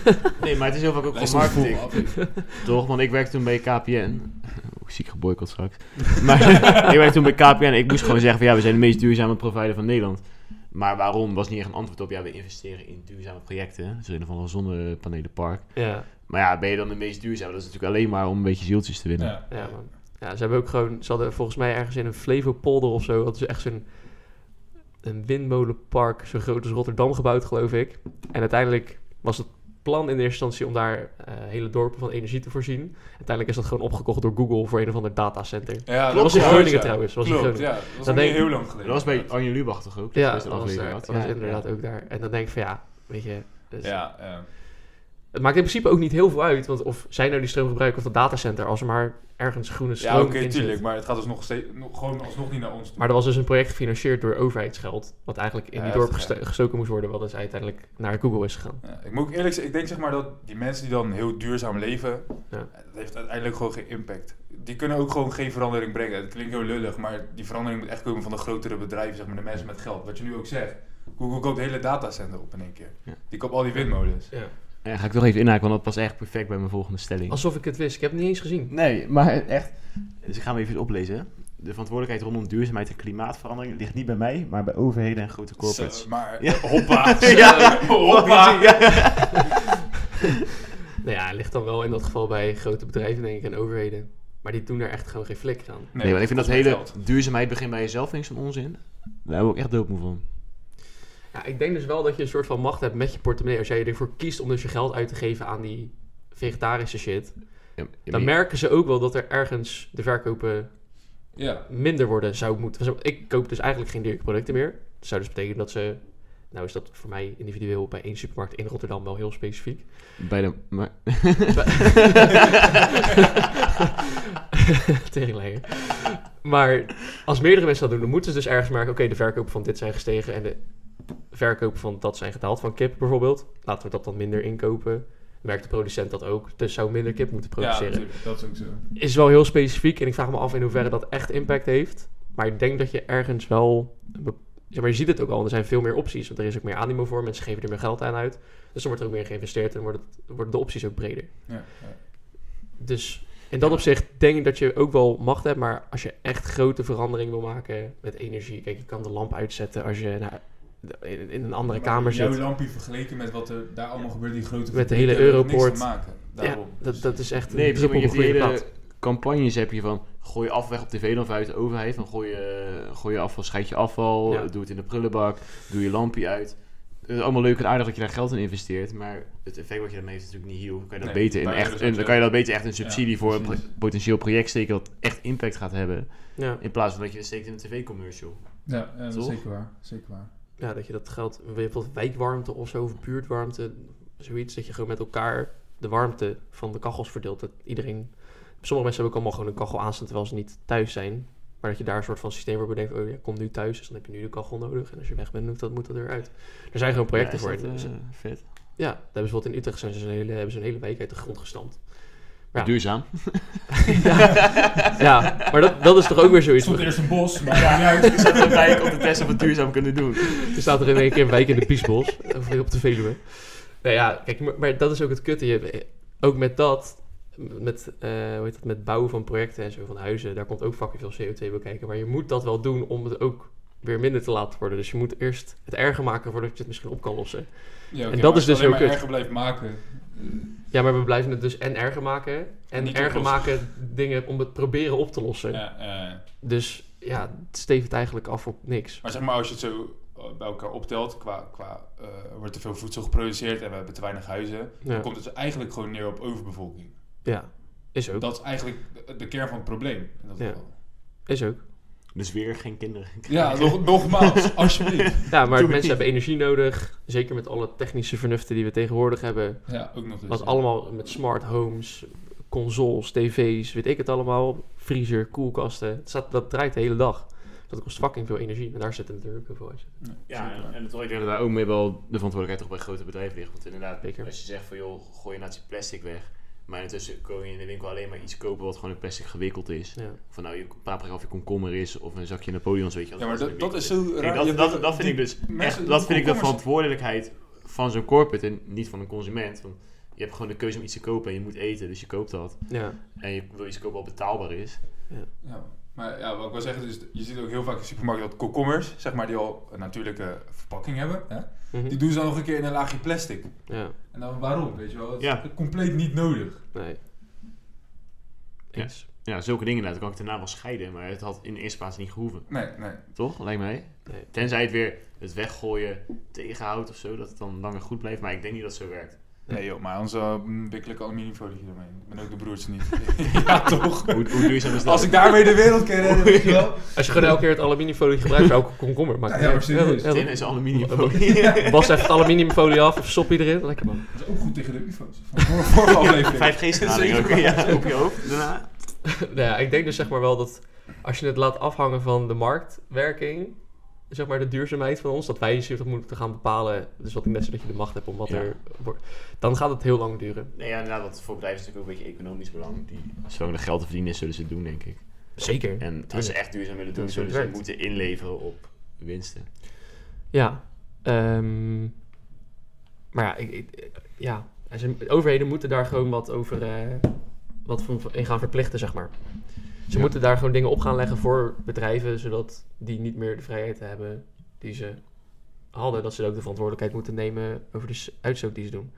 Nee, maar het is heel vaak ook
Wij
gewoon
zijn
marketing.
vol af.
Toch? Want ik werkte toen bij KPN. Ook ziek geboycott straks. Maar ik werkte toen bij KPN. Ik moest gewoon zeggen van ja, we zijn de meest duurzame provider van Nederland. Maar waarom was niet echt een antwoord op. Ja, we investeren in duurzame projecten. Zo in van een zonnepanelenpark.
Ja,
Maar ja, ben je dan de meest duurzame? Dat is natuurlijk alleen maar om een beetje zieltjes te winnen.
Ja.
ja, man. Ja, ze hebben ook gewoon... Ze hadden volgens mij ergens in een Flevopolder of zo... hadden ze echt zo'n... Een windmolenpark, zo groot als Rotterdam gebouwd, geloof ik. En uiteindelijk was het plan in eerste instantie om daar eh, hele dorpen van energie te voorzien. Uiteindelijk is dat gewoon opgekocht door Google voor een of ander datacenter.
Ja,
dat was in
ja.
Groningen trouwens. Dat was in
Klopt,
Groningen.
ja. Dat was
Dan
nog niet
denk-
heel lang geleden.
Dat was bij Arjen Lubach toch ook? Dat
Ja,
best
Dus dat
een
was,
aflevering
daar,
had.
dat was
Ja,
inderdaad
ja.
ook daar. En dan denk ik van ja, weet je... dus-
Ja, ja.
Het maakt in principe ook niet heel veel uit, want of zij nou die stroom gebruiken of het datacenter, als er maar ergens groene stroom
ja oké,
in zit.
tuurlijk. Maar het gaat dus nog steeds, nog, gewoon alsnog niet naar ons toe.
Maar er was dus een project gefinancierd door overheidsgeld, wat eigenlijk in
Ja,
die dorp
heftig,
gesto- gestoken moest worden, wat dus uiteindelijk naar Google is gegaan.
Ja, ik moet ook eerlijk zeggen, ik denk zeg maar dat die mensen die dan heel duurzaam leven,
Ja.
dat heeft uiteindelijk gewoon geen impact. Die kunnen ook gewoon geen verandering brengen. Het klinkt heel lullig, maar die verandering moet echt komen van de grotere bedrijven, zeg maar de mensen met geld. Wat je nu ook zegt. Google koopt hele datacenter op in één keer.
Ja.
Die koopt al die windmolens.
Ja, ga ik toch even inhaken, want dat past echt perfect bij mijn volgende stelling.
Alsof ik het wist, ik heb het niet eens gezien.
Nee, maar echt. Dus ik ga hem even oplezen. De verantwoordelijkheid rondom duurzaamheid en klimaatverandering ligt niet bij mij, maar bij overheden en grote corporates.
Zo, maar eh,
Ja.
hoppa, zo,
Ja.
hoppa.
Nou ja, het ligt dan wel in dat geval bij grote bedrijven, denk ik, en overheden. Maar die doen er echt gewoon geen flik aan.
Nee, want ik vind dat
kost
hele
maar geld.
duurzaamheid begint bij jezelf vind ik zo'n onzin. Daar heb ik ook echt doodmoe van.
Ja, ik denk dus wel dat je een soort van macht hebt met je portemonnee. Als jij ervoor kiest om dus je geld uit te geven aan die vegetarische shit,
Ja,
dan
maar-
merken ze ook wel dat er ergens de verkopen
Ja.
minder worden zou moeten. Ik koop dus eigenlijk geen dierlijke producten meer. Dat zou dus betekenen dat ze. Nou is dat voor mij individueel bij één supermarkt in Rotterdam wel heel specifiek.
bij de... Maar,
Teringleier. Maar als meerdere mensen dat doen, dan moeten ze dus ergens merken... oké, de verkoop van dit zijn gestegen en de verkoop van dat zijn gedaald. Van kip bijvoorbeeld. Laten we dat dan minder inkopen. Dan merkt de producent dat ook. Dus zou minder kip moeten
Ja,
produceren.
natuurlijk.
Dat is ook zo.
is wel heel specifiek en ik vraag me af in hoeverre dat echt impact heeft. Maar ik denk dat je ergens wel. een bep- Zeg maar, je ziet het ook al, er zijn veel meer opties. Want er is ook meer animo voor, mensen geven er meer geld aan uit. Dus dan wordt er ook meer geïnvesteerd en wordt het- worden de opties ook breder.
Ja, ja.
Dus in dat opzicht denk ik dat je ook wel macht hebt. Maar als je echt grote verandering wil maken met energie. Kijk, je kan de lamp uitzetten als je nou, in, in een andere
Maar
kamer
jouw
zit.
lampje vergeleken met wat er daar allemaal gebeurt, die grote
Met de hele
fabrieken, daar hebben we
Europoort.
niks van maken.
Ja,
Daarom.
dat, dat is echt
nee,
een
precies,
druppel
maar
op
je
een
hebt die
gloeiende
hele
plaat.
campagnes heb je van... Gooi afweg op tv dan vanuit de overheid. Van gooi je, gooi je afval, scheid je afval.
Ja.
Doe het in de prullenbak. Doe je lampje uit. Het is allemaal leuk en aardig dat je daar geld in investeert. Maar het effect wat je daarmee heeft is natuurlijk niet heel... Kan je dat
Nee,
beter in
daar
echt,
is
een-
ook
dan
zo.
kan je dat beter echt een subsidie
Ja,
voor een
precies.
pro- potentieel project steken... dat echt impact gaat hebben.
Ja.
In plaats van dat je het steekt in een tv-commercial.
Ja, ja, dat is
Toch?
zeker waar. Zeker waar.
ja, dat je dat geld, bijvoorbeeld wijkwarmte of zo, of buurtwarmte, zoiets, dat je gewoon met elkaar de warmte van de kachels verdeelt. Dat iedereen, sommige mensen hebben ook allemaal gewoon een kachel aanstaan terwijl ze niet thuis zijn. Maar dat je daar een soort van systeem voor bedenkt, oh ja, kom nu thuis, dus dan heb je nu de kachel nodig. En als je weg bent, moet dat, moet dat eruit. Er zijn gewoon projecten
Ja, is
voor.
dat,
Dus-
eh, vet.
ja, daar hebben ze bijvoorbeeld in Utrecht zijn ze een hele, hebben ze een hele wijk uit de grond gestampt. Ja.
Duurzaam.
ja, maar dat, dat is toch ook weer
Er
zoiets.
stond eerst een bos, maar
Ik zat te kijken of de testen van duurzaam kunnen doen.
Er staat er in één keer een wijk in de Piesbos. Of op de Veluwe. Nou ja, kijk, maar, maar dat is ook het kutte. Je, eh, ook met dat, met, eh, hoe heet dat, met bouwen van projecten en zo, van huizen, daar komt ook fucking veel CO2 bij kijken. Maar je moet dat wel doen om het ook weer minder te laten worden. Dus je moet eerst het erger maken voordat je het misschien op kan lossen.
Ja, oké,
En dat
maar
is
als je
dus ook
alleen maar
het.
erger blijft maken.
Ja, maar we blijven het dus en erger maken. En
Niet
erger
oplossen.
maken dingen om het proberen op te lossen.
Ja, eh,
Dus ja, het stevigt eigenlijk af op niks.
maar zeg maar, als je het zo eh, bij elkaar optelt, qua, qua eh, er wordt te veel voedsel geproduceerd en we hebben te weinig huizen,
Ja,
dan komt het dus eigenlijk gewoon neer op overbevolking.
ja. is ook.
Dat is eigenlijk de, de kern van het probleem. In dat
Ja.
geval.
Is ook.
Dus weer geen kinderen.
Ja, nog, nogmaals, alsjeblieft.
Ja, maar
Doe
mensen
het.
hebben energie nodig. Zeker met alle technische vernuften die we tegenwoordig hebben.
Ja, ook nog dus. eens.
Wat allemaal met smart homes, consoles, tv's, weet ik het allemaal. Vriezer, koelkasten. Het staat, dat draait de hele dag. Dus Dat kost fucking veel energie. En daar zit natuurlijk heel veel uit.
Ja,
Zeker.
en, en het wordt inderdaad ook mee wel de verantwoordelijkheid toch bij grote bedrijven ligt. Want inderdaad,
Zeker.
als je zegt van joh, gooi je natie plastic weg. Maar intussen kun je in de winkel alleen maar iets kopen wat gewoon in plastic gewikkeld is.
Ja.
Van nou, je paprika of je komkommer is of een zakje Napoleons, weet je.
Ja, maar dat, dat is
zo
zo raar.
dat,
Je
dat,
hebt-
dat vind
die-
ik dus echt,
mensen-
dat vind ik de
komkommers-
verantwoordelijkheid van zo'n corporate en niet van een consument. Want je hebt gewoon de keuze om iets te kopen en je moet eten, dus je koopt dat.
ja.
En je wil iets kopen wat betaalbaar is.
Ja, maar ja, wat ik wil zeggen is, je ziet ook heel vaak in supermarkten dat komkommers, zeg maar, die al een natuurlijke verpakking hebben, hè?
Mhm.
die doen ze dan nog een keer in een laagje plastic.
ja.
En dan waarom, weet je wel? Het is
Ja.
compleet niet nodig.
Nee.
Ja.
Eens.
Ja, zulke dingen inderdaad. Dan kan ik daarna wel scheiden, maar het had in de eerste plaats niet gehoeven.
Nee, nee.
Toch? Lijkt mij. Eh,
Nee.
Tenzij het weer het weggooien tegenhoudt of zo, dat het dan langer goed blijft. Maar ik denk niet dat het zo werkt.
Nee joh, maar onze uh, wikkelijke aluminiumfolie hiermee. Ik ben ook de broertje niet. ja, toch?
Hoe, hoe duurzaam is dat?
Als ik daarmee de wereld kan redden, weet je wel.
Als je gewoon elke keer het aluminiumfolie gebruikt, zou ik komkommer maken.
Ja, ja, maar serieus.
Tin is aluminiumfolie.
Bas even het aluminiumfolie af of sop iedereen. Lekker man.
Dat is ook goed tegen de UFO's.
Van voor- vorige aflevering.
5G-straling ook. Ja, op je hoofd daarna.
Nou ja, ik denk dus zeg maar wel dat als je het laat afhangen van de marktwerking, zeg maar de duurzaamheid van ons, dat wij zich moeten gaan bepalen, dus wat ik net zei, dat je de macht hebt om wat
Ja.
er wordt, dan gaat het heel lang duren.
Nee, ja, inderdaad, want voor bedrijven is natuurlijk ook een beetje economisch belang. Die... Zolang er geld te verdienen is, zullen ze het doen, denk ik.
Zeker.
En als ze echt duurzaam willen doen,
Tuurlijk,
zullen ze het
werkt.
moeten inleveren op winsten.
Ja. ehm, maar ja, ik, ik- ja. En ze- overheden moeten daar gewoon wat over eh, wat van, in gaan verplichten, zeg maar. Ze
Ja.
moeten daar gewoon dingen op gaan leggen voor bedrijven, zodat die niet meer de vrijheid hebben die ze hadden. Dat ze ook de verantwoordelijkheid moeten nemen over de s- uitstoot die ze doen.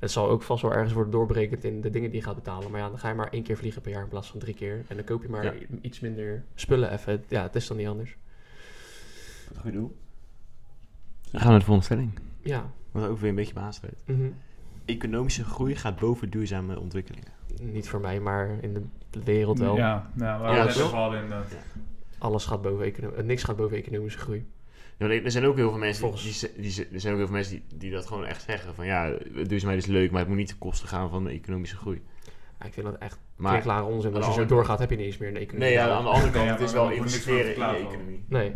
Het zal ook vast wel ergens worden doorbrekend in de dingen die je gaat betalen. Maar ja, dan ga je maar één keer vliegen per jaar in plaats van drie keer. En dan koop je maar
Ja.
iets minder spullen even. Ja, het is dan niet anders.
Goed doel. Dan gaan we naar de volgende stelling.
Ja.
Wat ook weer een beetje behaast werd.
mhm.
Economische groei gaat boven duurzame ontwikkelingen.
niet voor mij, maar in de wereld wel.
Ja, nou,
Ja,
waar we
dat
het
is-
net over hadden inderdaad.
Alles gaat boven econo- eh, niks gaat boven economische groei.
Ja, maar er zijn ook heel veel mensen, die,
Volgens-
die, ze- die, ze- er zijn ook heel veel mensen die, die dat gewoon echt zeggen. Van ja, duurzaamheid is leuk, maar het moet niet ten koste gaan van de economische groei.
Ja, ik vind dat echt
Maar
klare onzin. want
aan
Als
de
je zo
andere-
doorgaat, heb je niet eens meer een economie.
nee, ja, aan de andere kant,
ja,
het is
maar
wel
we moeten niks
investeren in
voor
de
verklaren wel.
economie.
Nee,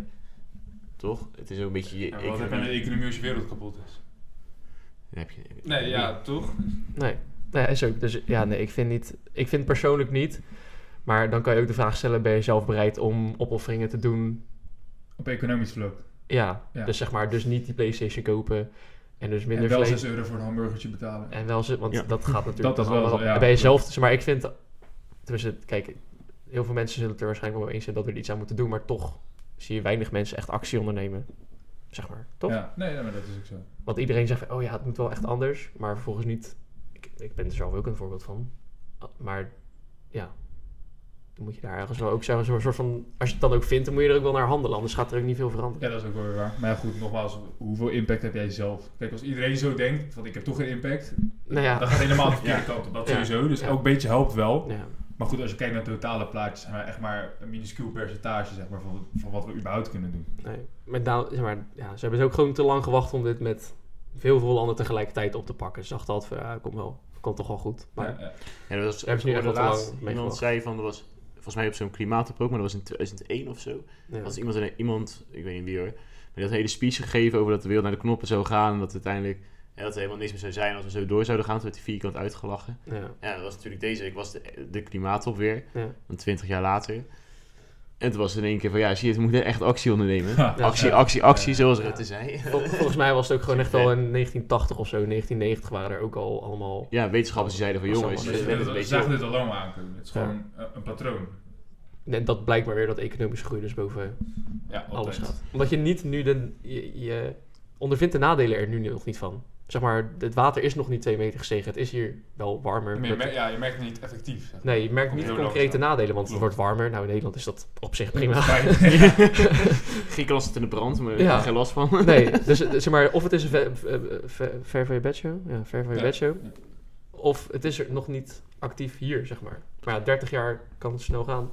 Toch? Het is ook een beetje je
Ja, wat heb je aan de
economie.
economie als je wereld kapot is?
Dan heb je-
Nee, ja, toch?
nee. Nee, is ook. Dus ja, nee, ik vind, niet, ik vind persoonlijk niet. Maar dan kan je ook de vraag stellen, ben je zelf bereid om opofferingen te doen?
Op economisch vlak.
Ja,
Ja.
dus zeg maar, dus niet die Playstation kopen. En dus
En
minder
wel
vlees.
6 euro voor een hamburgertje betalen.
En wel ze, want
Ja.
dat gaat natuurlijk.
Dat is wel
allemaal-
zo, ja.
Bij jezelf, zeg maar ik vind. Tenminste, kijk, heel veel mensen zullen het er waarschijnlijk wel mee eens zijn dat we er iets aan moeten doen, maar toch zie je weinig mensen echt actie ondernemen. Zeg maar, toch?
Ja, nee, nee, maar dat is ook zo.
Want iedereen zegt van, oh ja, het moet wel echt anders, maar vervolgens niet. Ik, ik ben er zelf ook een voorbeeld van. Maar ja, dan moet je daar ergens wel ook zeggen, zo'n soort van. Als je het dan ook vindt, dan moet je er ook wel naar handelen, anders gaat er ook niet veel veranderen.
Ja, dat is ook wel weer waar. Maar ja, goed, nogmaals, hoeveel impact heb jij zelf? Kijk, als iedereen zo denkt, van ik heb toch geen impact,
Nou ja.
dan gaat het helemaal de verkeerde
Ja.
kant op. Dat
Ja.
sowieso, dus
Ja.
elk beetje helpt wel.
ja.
Maar goed, als je kijkt naar het totale plaatje, zijn we echt maar een minuscuul percentage zeg maar, van, van wat we überhaupt kunnen doen.
Nee, maar, nou, zeg maar ja, ze hebben dus ook gewoon te lang gewacht om dit met veel, veel landen tegelijkertijd op te pakken. Ze dachten altijd van, ja, komt wel, komt toch wel goed. Maar
Ja, ja.
Ja, dat was,
Daar hebben ze nu echt
ik hoorde
wel te
laatst
lang mee
Iemand
gewacht.
zei van, dat was volgens mij op zo'n klimaatop maar dat was in 2001 of zo.
ja,
Als iemand, in- iemand, ik weet niet wie hoor, maar die had een hele speech gegeven over dat de wereld naar de knoppen zou gaan. En dat uiteindelijk, en dat er helemaal niks meer zou zijn als we zo door zouden gaan. Toen werd die vierkant uitgelachen.
ja,
Ja, dat was natuurlijk deze week was de, de klimaattop weer,
ja.
dan 20 jaar later. En toen was het in één keer van, ja, zie je, we moeten echt actie ondernemen.
Ja.
Actie,
Ja.
actie, actie,
Ja.
zoals
Ja.
Rutte zei.
Vol- volgens mij was het ook gewoon echt al in 1980 of zo, 1990 waren er ook al allemaal...
Ja, wetenschappers die zeiden van,
Was dat
jongens,
wel-
dit
Dus
is
we
net een
zagen dit- we
beetje...
zagen
op.
dit al lang aankomen. Het is
Ja.
gewoon eh, een patroon.
En dat blijkt maar weer dat economische groei dus boven
Ja,
alles
altijd.
gaat. Omdat je niet nu de... Je, je ondervindt de nadelen er nu nog niet van. Zeg maar, het water is nog niet twee meter gestegen. Het is hier wel warmer.
Maar je
Dat-
merkt- ja, je merkt het niet effectief. Zeg.
Nee, je merkt niet de
Heel
concrete
langzaam.
nadelen, want het
Klopt.
wordt warmer. Nou, in Nederland is dat op zich prima.
Griekenland zit in de brand, maar
Ja.
daar heb geen last van.
Nee, dus eh, zeg maar, of het is een ver, ver, ver- ver van je bed show, ja, ver van je
Ja.
bed show,
Ja.
of het is er nog niet actief hier, zeg maar. Maar ja, 30 jaar kan het snel gaan.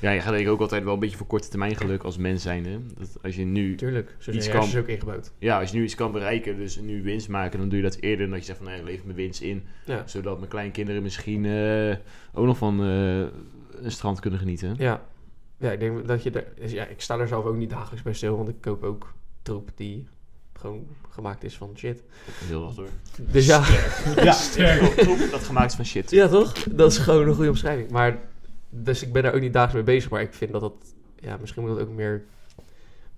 Ja, je gaat denk ik ook altijd wel een beetje voor korte termijn geluk als mens zijnde. Dat als je nu
Tuurlijk, zo zijn
Iets
je
kan.
hersens ook ingebouwd.
ja, als je nu iets kan bereiken, dus nu winst maken, dan doe je dat eerder dan dat je zegt van nee, ik leef mijn winst in.
Ja.
Zodat mijn kleinkinderen misschien eh, ook nog van eh, een strand kunnen genieten.
Ja. ja, ik denk dat je daar... dus ja, ik sta er zelf ook niet dagelijks bij stil, want ik koop ook troep die gewoon gemaakt is van shit.
Heel wat hoor.
Dus ja,
Ja, sterk. Troep dat gemaakt is van shit.
ja toch? Dat is gewoon een goede omschrijving. Maar, dus ik ben daar ook niet dagelijks mee bezig, maar ik vind dat dat... Ja, misschien moet dat ook meer...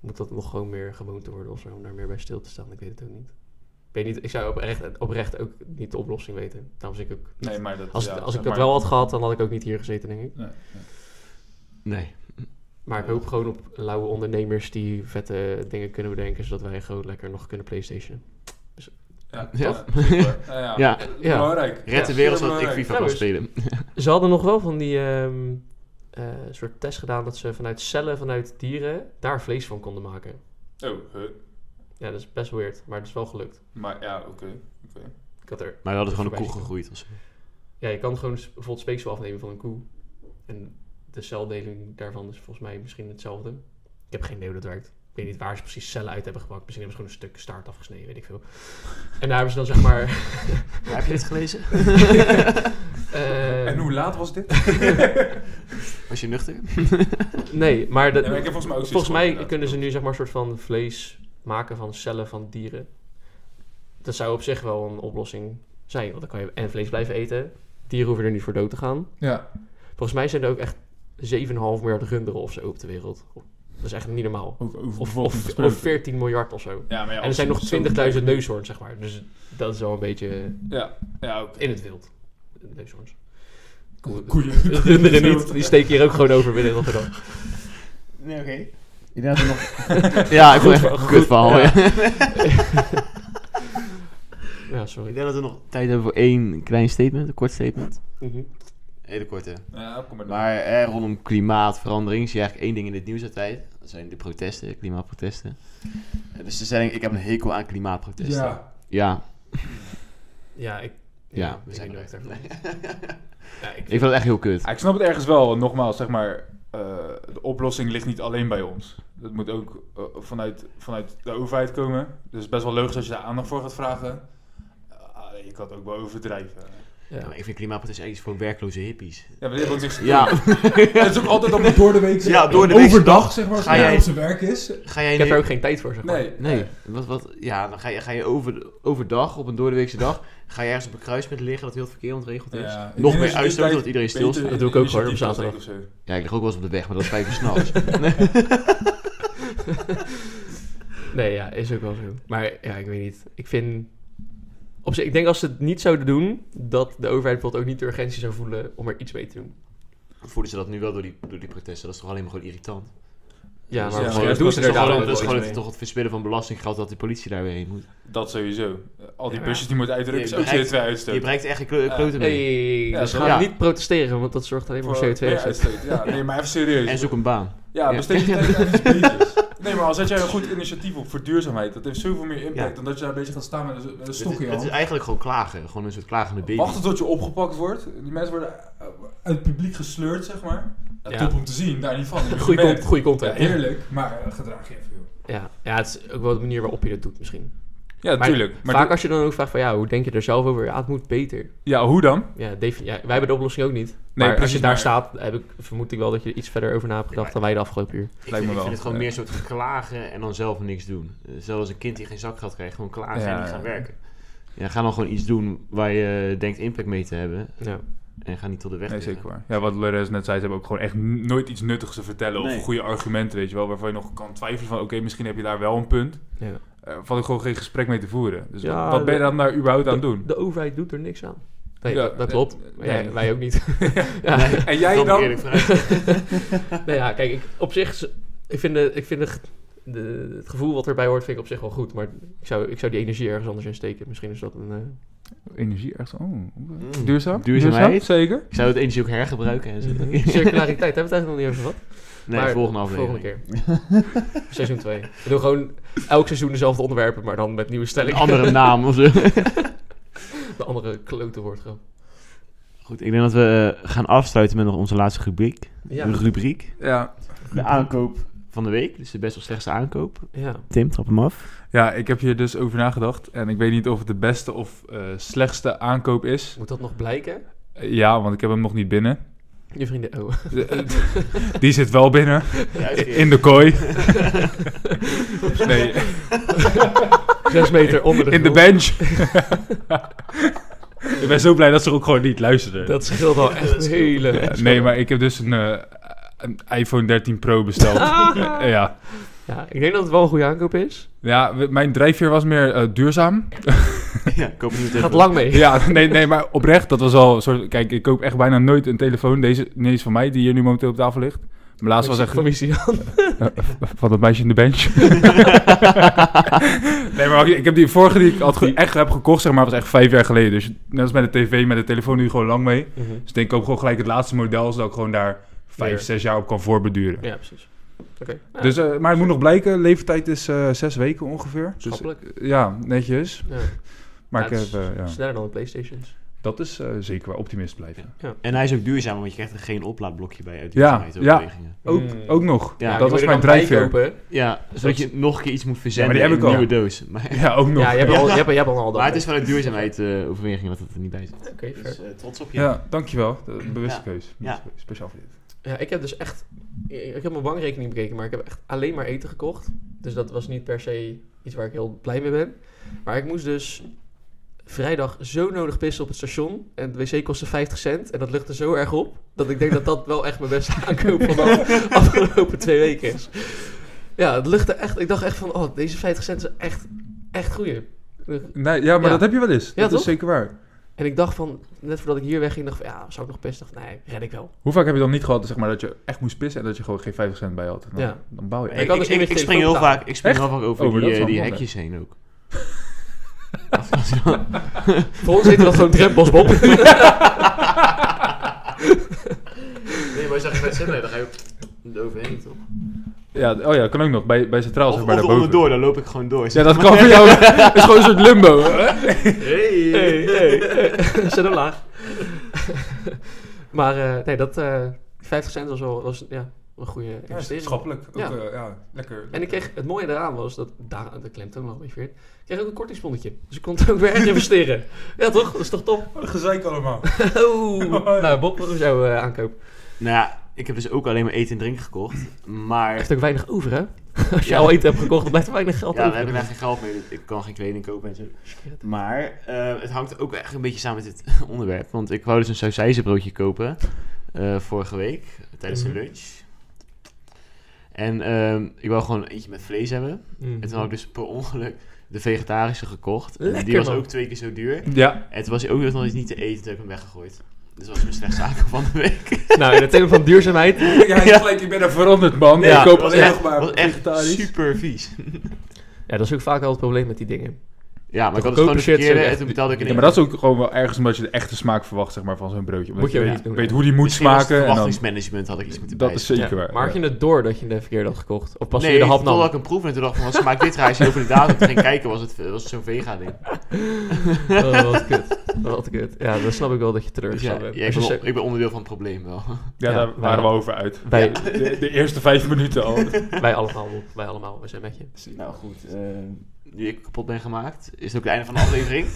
Moet dat nog gewoon meer gewoonte worden of zo, om daar meer bij stil te staan. Ik weet het ook niet. Ik weet niet, ik zou oprecht, oprecht ook niet de oplossing weten. Daarom zit ik ook...
Nee, maar dat...
Als,
ja,
als ik
maar-
dat wel had gehad, dan had ik ook niet hier gezeten, denk ik.
Nee, nee.
Nee.
Maar ik hoop gewoon op lauwe ondernemers die vette dingen kunnen bedenken, zodat wij gewoon lekker nog kunnen PlayStation.
Ja,
Ja.
ja, zeker.
Nou
Ja, ja.
Ja,
Ja.
Belangrijk.
red de
Ja,
wereld
heel
zodat ik
belangrijk.
FIFA
Ja,
kan
dus-
spelen.
Ze hadden nog wel van die ehm, eh, soort test gedaan dat ze vanuit cellen, vanuit dieren, daar vlees van konden maken.
Oh, huh.
Ja, dat is best weird, maar het is wel gelukt.
Maar ja, oké. oké.
Ik had er,
Maar we hadden gewoon een koe
Voorbij.
gegroeid of zo.
ja, je kan gewoon s- bijvoorbeeld speeksel afnemen van een koe. En de celdeling daarvan is volgens mij misschien hetzelfde. Ik heb geen idee hoe dat werkt. Ik weet niet waar ze precies cellen uit hebben gepakt. Misschien hebben ze gewoon een stuk staart afgesneden, weet ik veel. En daar hebben ze dan zeg maar...
Heb je dit gelezen?
ehm,
En hoe laat was dit?
Was je nuchter?
Nee, maar, de-
Nee, maar ik heb volgens mij ook zoiets
volgens mij
gehoord,
kunnen ze
inderdaad.
nu zeg maar een soort van vlees maken van cellen van dieren. Dat zou op zich wel een oplossing zijn, want dan kan je en vlees blijven eten. Dieren hoeven er niet voor dood te gaan.
Ja,
Volgens mij zijn er ook echt 7,5 miljard runderen of zo op de wereld. Dat is echt niet normaal.
over, over
Of,
bevolking
of,
gesproken.
of 14 miljard of zo.
Ja, maar ja,
En er zijn nog
zo-
20.000 neushoorns, zeg maar. Dus dat is wel een beetje
Ja, ja oké.
in het wild. Neushoorns. Koeien.
Koeien.
Runderen niet, die steken hier ook gewoon over binnen Rotterdam.
Nee, oké. Ja, ik
Goed
vond echt
verhaal,
een
goed
kut verhaal.
verhaal,
ja.
Ja,
Ik
sorry.
denk dat we nog tijd hebben voor één klein statement, een kort statement.
Mhm.
Hele korte.
Ja, kom maar.
Maar eh, rondom klimaatverandering zie je eigenlijk één ding in het nieuws altijd. Dat zijn de protesten, klimaatprotesten. Eh, Dus de stelling, ik heb een hekel aan klimaatprotesten.
Ja,
Ja,
Ja, ik...
ja,
ik
we
weet
zijn
niet
er.
wat ik daarvan-
Nee.
Ja, ik,
Ik vind het echt heel kut.
Ja, ik snap het ergens wel. Nogmaals, zeg maar, eh, de oplossing ligt niet alleen bij ons. Dat moet ook eh, vanuit, vanuit de overheid komen. Dus het is best wel logisch als je daar aandacht voor gaat vragen. Eh, je kan het ook wel overdrijven.
Ja, maar ik vind klimaatprotesten eigenlijk iets voor werkloze hippies.
Ja, maar dit heeft ook niks te
Ja,
doen. Het is ook altijd op...
door de week.
Ja, door de week-
Overdag, zeg maar, als
Ga
hij
jij-
op zijn werk is.
ga jij
ik heb
nu-
er ook geen tijd voor, zeg maar.
Nee.
Nee, wat, wat, ja, dan ga je, ga je over, overdag, op een doordeweekse dag, ga je ergens op een kruispunt liggen dat heel het verkeer ontregeld is. Ja,
Ja, ik
Nog
denk
meer
dat je
uitstoot,
dit tijd
zodat iedereen
beter
stilstaat.
Dat doe ik ook, hoor, op
initiatief
zaterdag.
kan zetten of
ik lig ook wel eens op de weg, maar dat is vijf uur s'nachts.
Nee, ja, is ook wel zo. Maar ja, ik weet niet. Ik vind... Op zich, ik denk als ze het niet zouden doen, dat de overheid bijvoorbeeld ook niet de urgentie zou voelen om er iets mee te doen.
Voelen ze dat nu wel door die, door die protesten? Dat is toch alleen maar gewoon irritant?
Ja, maar
maar Ja,
dat
gewoon
is
misschien
doen Dus ze er
toch gewoon-
daar
daarom
wel
dat is
iets
gewoon
mee.
het, toch het verspillen van belastinggeld dat die politie daar weer heen moet.
zo. Dat sowieso. Eh, Al die
Ja.
busjes die moeten uitdrukken,
Je
is ook
bereikt- Je
CO2-uitstoot.
bereikt echt een klo- klote mee.
Nee,
Ja,
dus
dat-
ga
ja.
niet protesteren, want dat zorgt alleen maar voor CO2-uitstoot.
uitstoot. Ja, nee, maar even serieus.
En zoek een baan.
Ja,
Ja.
besteed je tijd aan iets beters. Nee, maar al zet jij een goed initiatief op voor duurzaamheid, dat heeft zoveel meer impact
Ja.
dan dat je daar bezig gaat staan met een, met een
Het is,
stokje
het is eigenlijk gewoon klagen. Gewoon een soort klagende baby.
Wachten tot je opgepakt wordt. Die mensen worden eh, uit het publiek gesleurd, zeg maar. Ja,
Ja.
Top om te zien, daar niet van. Je
Goeie,
merkt-
con- goeie
Ja,
content. Ja,
heerlijk, maar eh, gedraag je even, joh.
ja. het is ook wel de manier waarop je dat doet misschien.
Ja,
Maar
tuurlijk. Maar
Vaak
doe-
als je dan ook vraagt van ja, hoe denk je er zelf over? Ja, het moet beter.
Ja, hoe dan?
Ja, defini- ja wij hebben de oplossing ook niet.
Nee,
maar als je
precies,
daar
maar-
staat, heb ik, vermoed ik wel dat je er iets verder over na hebt gedacht
Ja.
dan wij de afgelopen uur.
Ik,
me
vind, ik
wel.
vind het gewoon
Ja.
meer een soort klagen en dan zelf niks doen. Eh, Zelfs een kind die geen zakgeld krijgt, gewoon klagen
Ja,
en niet
ja.
gaan werken. Ja, ga dan gewoon iets doen waar je eh, denkt impact mee te hebben.
Ja.
En ga niet tot de weg
Nee,
liggen.
zeker waar. Ja, wat Lorenz net zei, ze hebben ook gewoon echt n- nooit iets nuttigs te vertellen
Nee.
of goede argumenten, weet je wel, waarvan je nog kan twijfelen van, oké, misschien heb je daar wel een punt.
Ja.
Eh van ik gewoon geen gesprek mee te voeren. Dus
Ja,
wat, wat ben je
dat-
dan daar überhaupt aan
de,
doen?
De overheid doet er niks aan. Nee,
Ja,
dat, dat
eh,
klopt.
eh,
Ja,
nee.
Wij ook niet. ja.
En jij
Kan
dan?
eerlijk vooruit.
Nou ja, kijk, ik, op zich, z- ik vind, de, ik vind de, de- het gevoel wat erbij hoort, vind ik op zich wel goed. Maar ik zou, ik zou die energie ergens anders in steken. Misschien is dat een... eh,
Energie, echt. Oh,
Mm.
duurzaam?
Duurzaamheid?
Duurzaam, zeker.
Ik zou het energie ook hergebruiken. En zo.
Mhm.
circulariteit, hebben we het eigenlijk nog niet over gehad.
Nee,
Maar
volgende aflevering.
Volgende keer. seizoen 2. We doen gewoon elk seizoen dezelfde onderwerpen, maar dan met nieuwe
Een
stellingen.
andere naam of zo.
De andere klote woordgrap.
Goed, ik denk dat we eh, gaan afsluiten met nog onze laatste rubriek.
Ja.
Een rubriek.
Ja.
De aankoop van de week. Dus de best of slechtste aankoop.
ja.
Tim, trap hem af.
ja, ik heb hier dus over nagedacht. En ik weet niet of het de beste of eh, slechtste aankoop is.
Moet dat nog blijken?
Eh, Ja, want ik heb hem nog niet binnen. eh,
Je vrienden, oh.
Die zit wel binnen. In de kooi. Nee,
Zes meter onder de
in de
grond.
bench. ik ben zo blij dat ze ook gewoon niet luisteren.
Dat scheelt al echt een hele...
Ja, nee, maar ik heb dus een, eh, een iPhone 13 Pro besteld. Eh, ja.
Ja, ik denk dat het wel een goede aankoop is.
ja, w- mijn drijfveer was meer eh, duurzaam.
ja, ik hoop niet
Gaat lang mee.
Ja, nee, nee, maar oprecht, dat was al een soort... Kijk, ik koop echt bijna nooit een telefoon. Deze, niet eens van mij, die hier nu momenteel op tafel ligt. Mijn laatste was echt eh,
Van wie is die aan?
van dat meisje in de bench. nee, maar ik heb die vorige die ik had ge- echt heb gekocht, zeg maar, was echt vijf jaar geleden. Dus net als met de tv, met de telefoon nu gewoon lang mee.
Mhm.
Dus ik denk, ik koop gewoon gelijk het laatste model, zodat ik gewoon daar vijf,
Weer.
zes jaar op kan voorbeduren.
Ja, precies. Oké. Ja,
Dus, eh, maar het moet nog blijken, leeftijd is eh, zes weken ongeveer. Dus,
schappelijk.
eh, ja, netjes.
Ja.
Maar
Ja,
ik
het
heb, eh, ja.
Sneller dan de Playstations.
dat is eh, zeker waar optimist blijven.
En hij is ook duurzaam, want je krijgt er geen oplaadblokje bij uit
Ja,
duurzaamheid
ja.
overwegingen.
Mm.
Ook, ook nog.
Ja,
dat
die
was
wil je
mijn
er dan bij
drijfveer.
kopen.
Ja, zodat je nog een keer iets moet verzenden
die heb
in
ik
een
al.
nieuwe doos. Maar,
Ja, ook nog.
Ja, je hebt,
Ja.
Al, je, hebt, je hebt al dat.
maar het is vanuit duurzaamheid eh overwegingen wat het er niet bij zit.
Oké, fair.
Dus eh, trots op je.
Ja, dankjewel. De bewuste
Ja.
keus.
Ja.
Speciaal voor dit.
Ja, ik heb dus echt... Ik ik heb mijn bankrekening bekeken, maar ik heb echt alleen maar eten gekocht. Dus dat was niet per se iets waar ik heel blij mee ben. Maar ik moest dus vrijdag zo nodig pissen op het station. En de wc kostte 50 cent. En dat luchtte zo erg op, dat ik denk dat dat wel echt mijn beste aankoop van de afgelopen twee weken is. Ja, het luchtte echt... Ik dacht echt van, oh, deze 50 cent is echt, echt goeie.
Nee, ja, maar
Ja.
dat heb je wel eens.
Ja,
dat
toch?
is zeker waar.
En ik dacht van, net voordat ik hier wegging, dacht van, ja, zou ik nog pissen? Dacht, nee, red ik wel.
Hoe vaak heb je dan niet gehad zeg maar, dat je echt moest pissen en dat je gewoon geen 50 cent bij had? Dan,
Ja.
dan bouw je.
Ik,
Maar je
echt.
kan
ik,
dus niet
ik-
met
ik spring,
telefoon
heel vaak, ik spring heel vaak over
Oh, maar
die,
dat is
eh,
wel
die
handig.
hekjes heen ook.
Voor ons heette dat gewoon drempels, Bob.
Nee, maar je zegt bij Simmer, dan ga je ook overheen, toch?
Ja, oh ja, kan ook nog. Bij, bij Centraal
Of,
zeg
of
maar
er
daarboven.
onderdoor, dan loop ik gewoon door.
Ja, dat kan voor jou. Het is gewoon een soort limbo. hè?
Hey.
hey, hey. Zet hem laag. maar eh, nee, dat eh 50 cent was wel was, ja, een goede investering. Ook, Ja.
eh, lekker.
en ik kreeg, het mooie daaraan was, dat, daar, dat klemt ook nog een beetje weer, ik kreeg ook een kortingsponnetje. Dus ik kon het ook weer herinvesteren. ja toch? Dat is toch top?
gezeik allemaal.
Oeh. nou Bob, wat was jouw eh, aankoop?
Nou ja, ik heb dus ook alleen maar eten en drinken gekocht. Maar
Echt ook weinig over hè? Als je
Ja.
al eten hebt gekocht, dan blijft er weinig geld
ja, we
over.
hebben daar geen geld mee. dus Ik kan geen kleding kopen en zo.
Shit.
Maar eh, het hangt ook echt een beetje samen met dit onderwerp. Want ik wou dus een sausijzenbroodje kopen eh, vorige week tijdens de
Mhm.
lunch. En ehm, ik wou gewoon eentje met vlees hebben.
Mhm.
En toen had ik dus per ongeluk de vegetarische gekocht. En die
Lekker,
was
man.
ook twee keer zo duur.
Ja,
En toen was hij ook nog niet te eten, toen heb ik hem weggegooid. Dus dat was mijn slechtste aankoop van de week.
Nou, in het thema van duurzaamheid,
ja, gelijk, ik ben er veranderd, man.
Ja,
Oh ik koop
was
alleen
echt-
nog maar
was echt
vegetarisch.
super vies.
ja, dat is ook vaak al het probleem met die dingen.
Ja, maar ik had het
Goedkope
gewoon de
shit
verkeerde
zijn
en toen betaalde ik een
Ja, maar dat is ook gewoon wel ergens omdat je de echte smaak verwacht zeg maar, van zo'n broodje. Omdat
Moet je ook
weet,
niet doen,
weet
ja.
hoe die moet
Misschien was het
smaken. En dan,
verwachtingsmanagement had ik iets moeten
dat is zeker
Ja,
waar.
Maar had
ja.
je het door dat je de verkeerde had gekocht? Of pas
nee,
je de hap nam?
totdat ik hem proefde en toen dacht ik van, wat smaakt dit raar? Als je over de datum ging kijken, was het, was het zo'n vega-ding.
Oh, wat kut. Wat kut. Ja, dan snap ik wel dat je
Dus
teleurgesteld
ja,
bent.
ja, ik,
Als je
ben,
zo-
ik ben onderdeel van het probleem wel.
Ja,
Ja,
daar
maar-
waren we over uit.
wij,
De, de eerste vijf minuten al.
wij allemaal, Bob. wij allemaal, we zijn met je.
Nou goed, nu ik kapot ben gemaakt, is het ook het einde van de aflevering.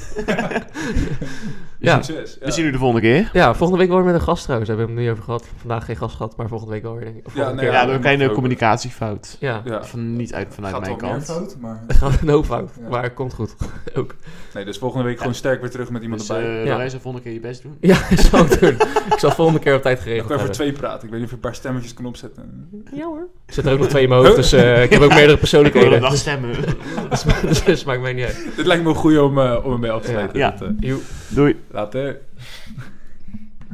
Ja,
Succes.
We zien jullie de volgende keer.
ja, volgende week wel weer met een gast trouwens. We hebben hem nu over gehad. Vandaag geen gast gehad, maar volgende week wel weer denk ik. Of
Ja,
volgende
nee,
Ja,
keer.
door een kleine communicatiefout.
Ja,
Ja.
Van, niet uit, vanuit
Gaat
mijn
wel meer
kant.
fout, maar...
er gaat een hoop fout,
Ja.
maar het komt goed. Ook.
Nee, dus volgende week gewoon sterk weer terug met iemand
Dus eh
erbij.
wij
Ja.
zullen volgende keer je best doen.
Ja, dat zal ik doen. Ik zal volgende keer op tijd
ik
geregeld
kan voor
hebben.
twee praten. Ik weet niet of je een paar stemmetjes kan opzetten.
Ja hoor. Ik zit er ook nog twee in mijn hoofd, dus eh, ik heb ook meerdere
Ik wil een
persoonlijkheden.
dag stemmen.
Dus het maakt mij niet uit.
Dit lijkt me een goeie om, eh, om ermee af te
Ja.
sluiten.
Ja.
Dat, eh,
Doei.
later.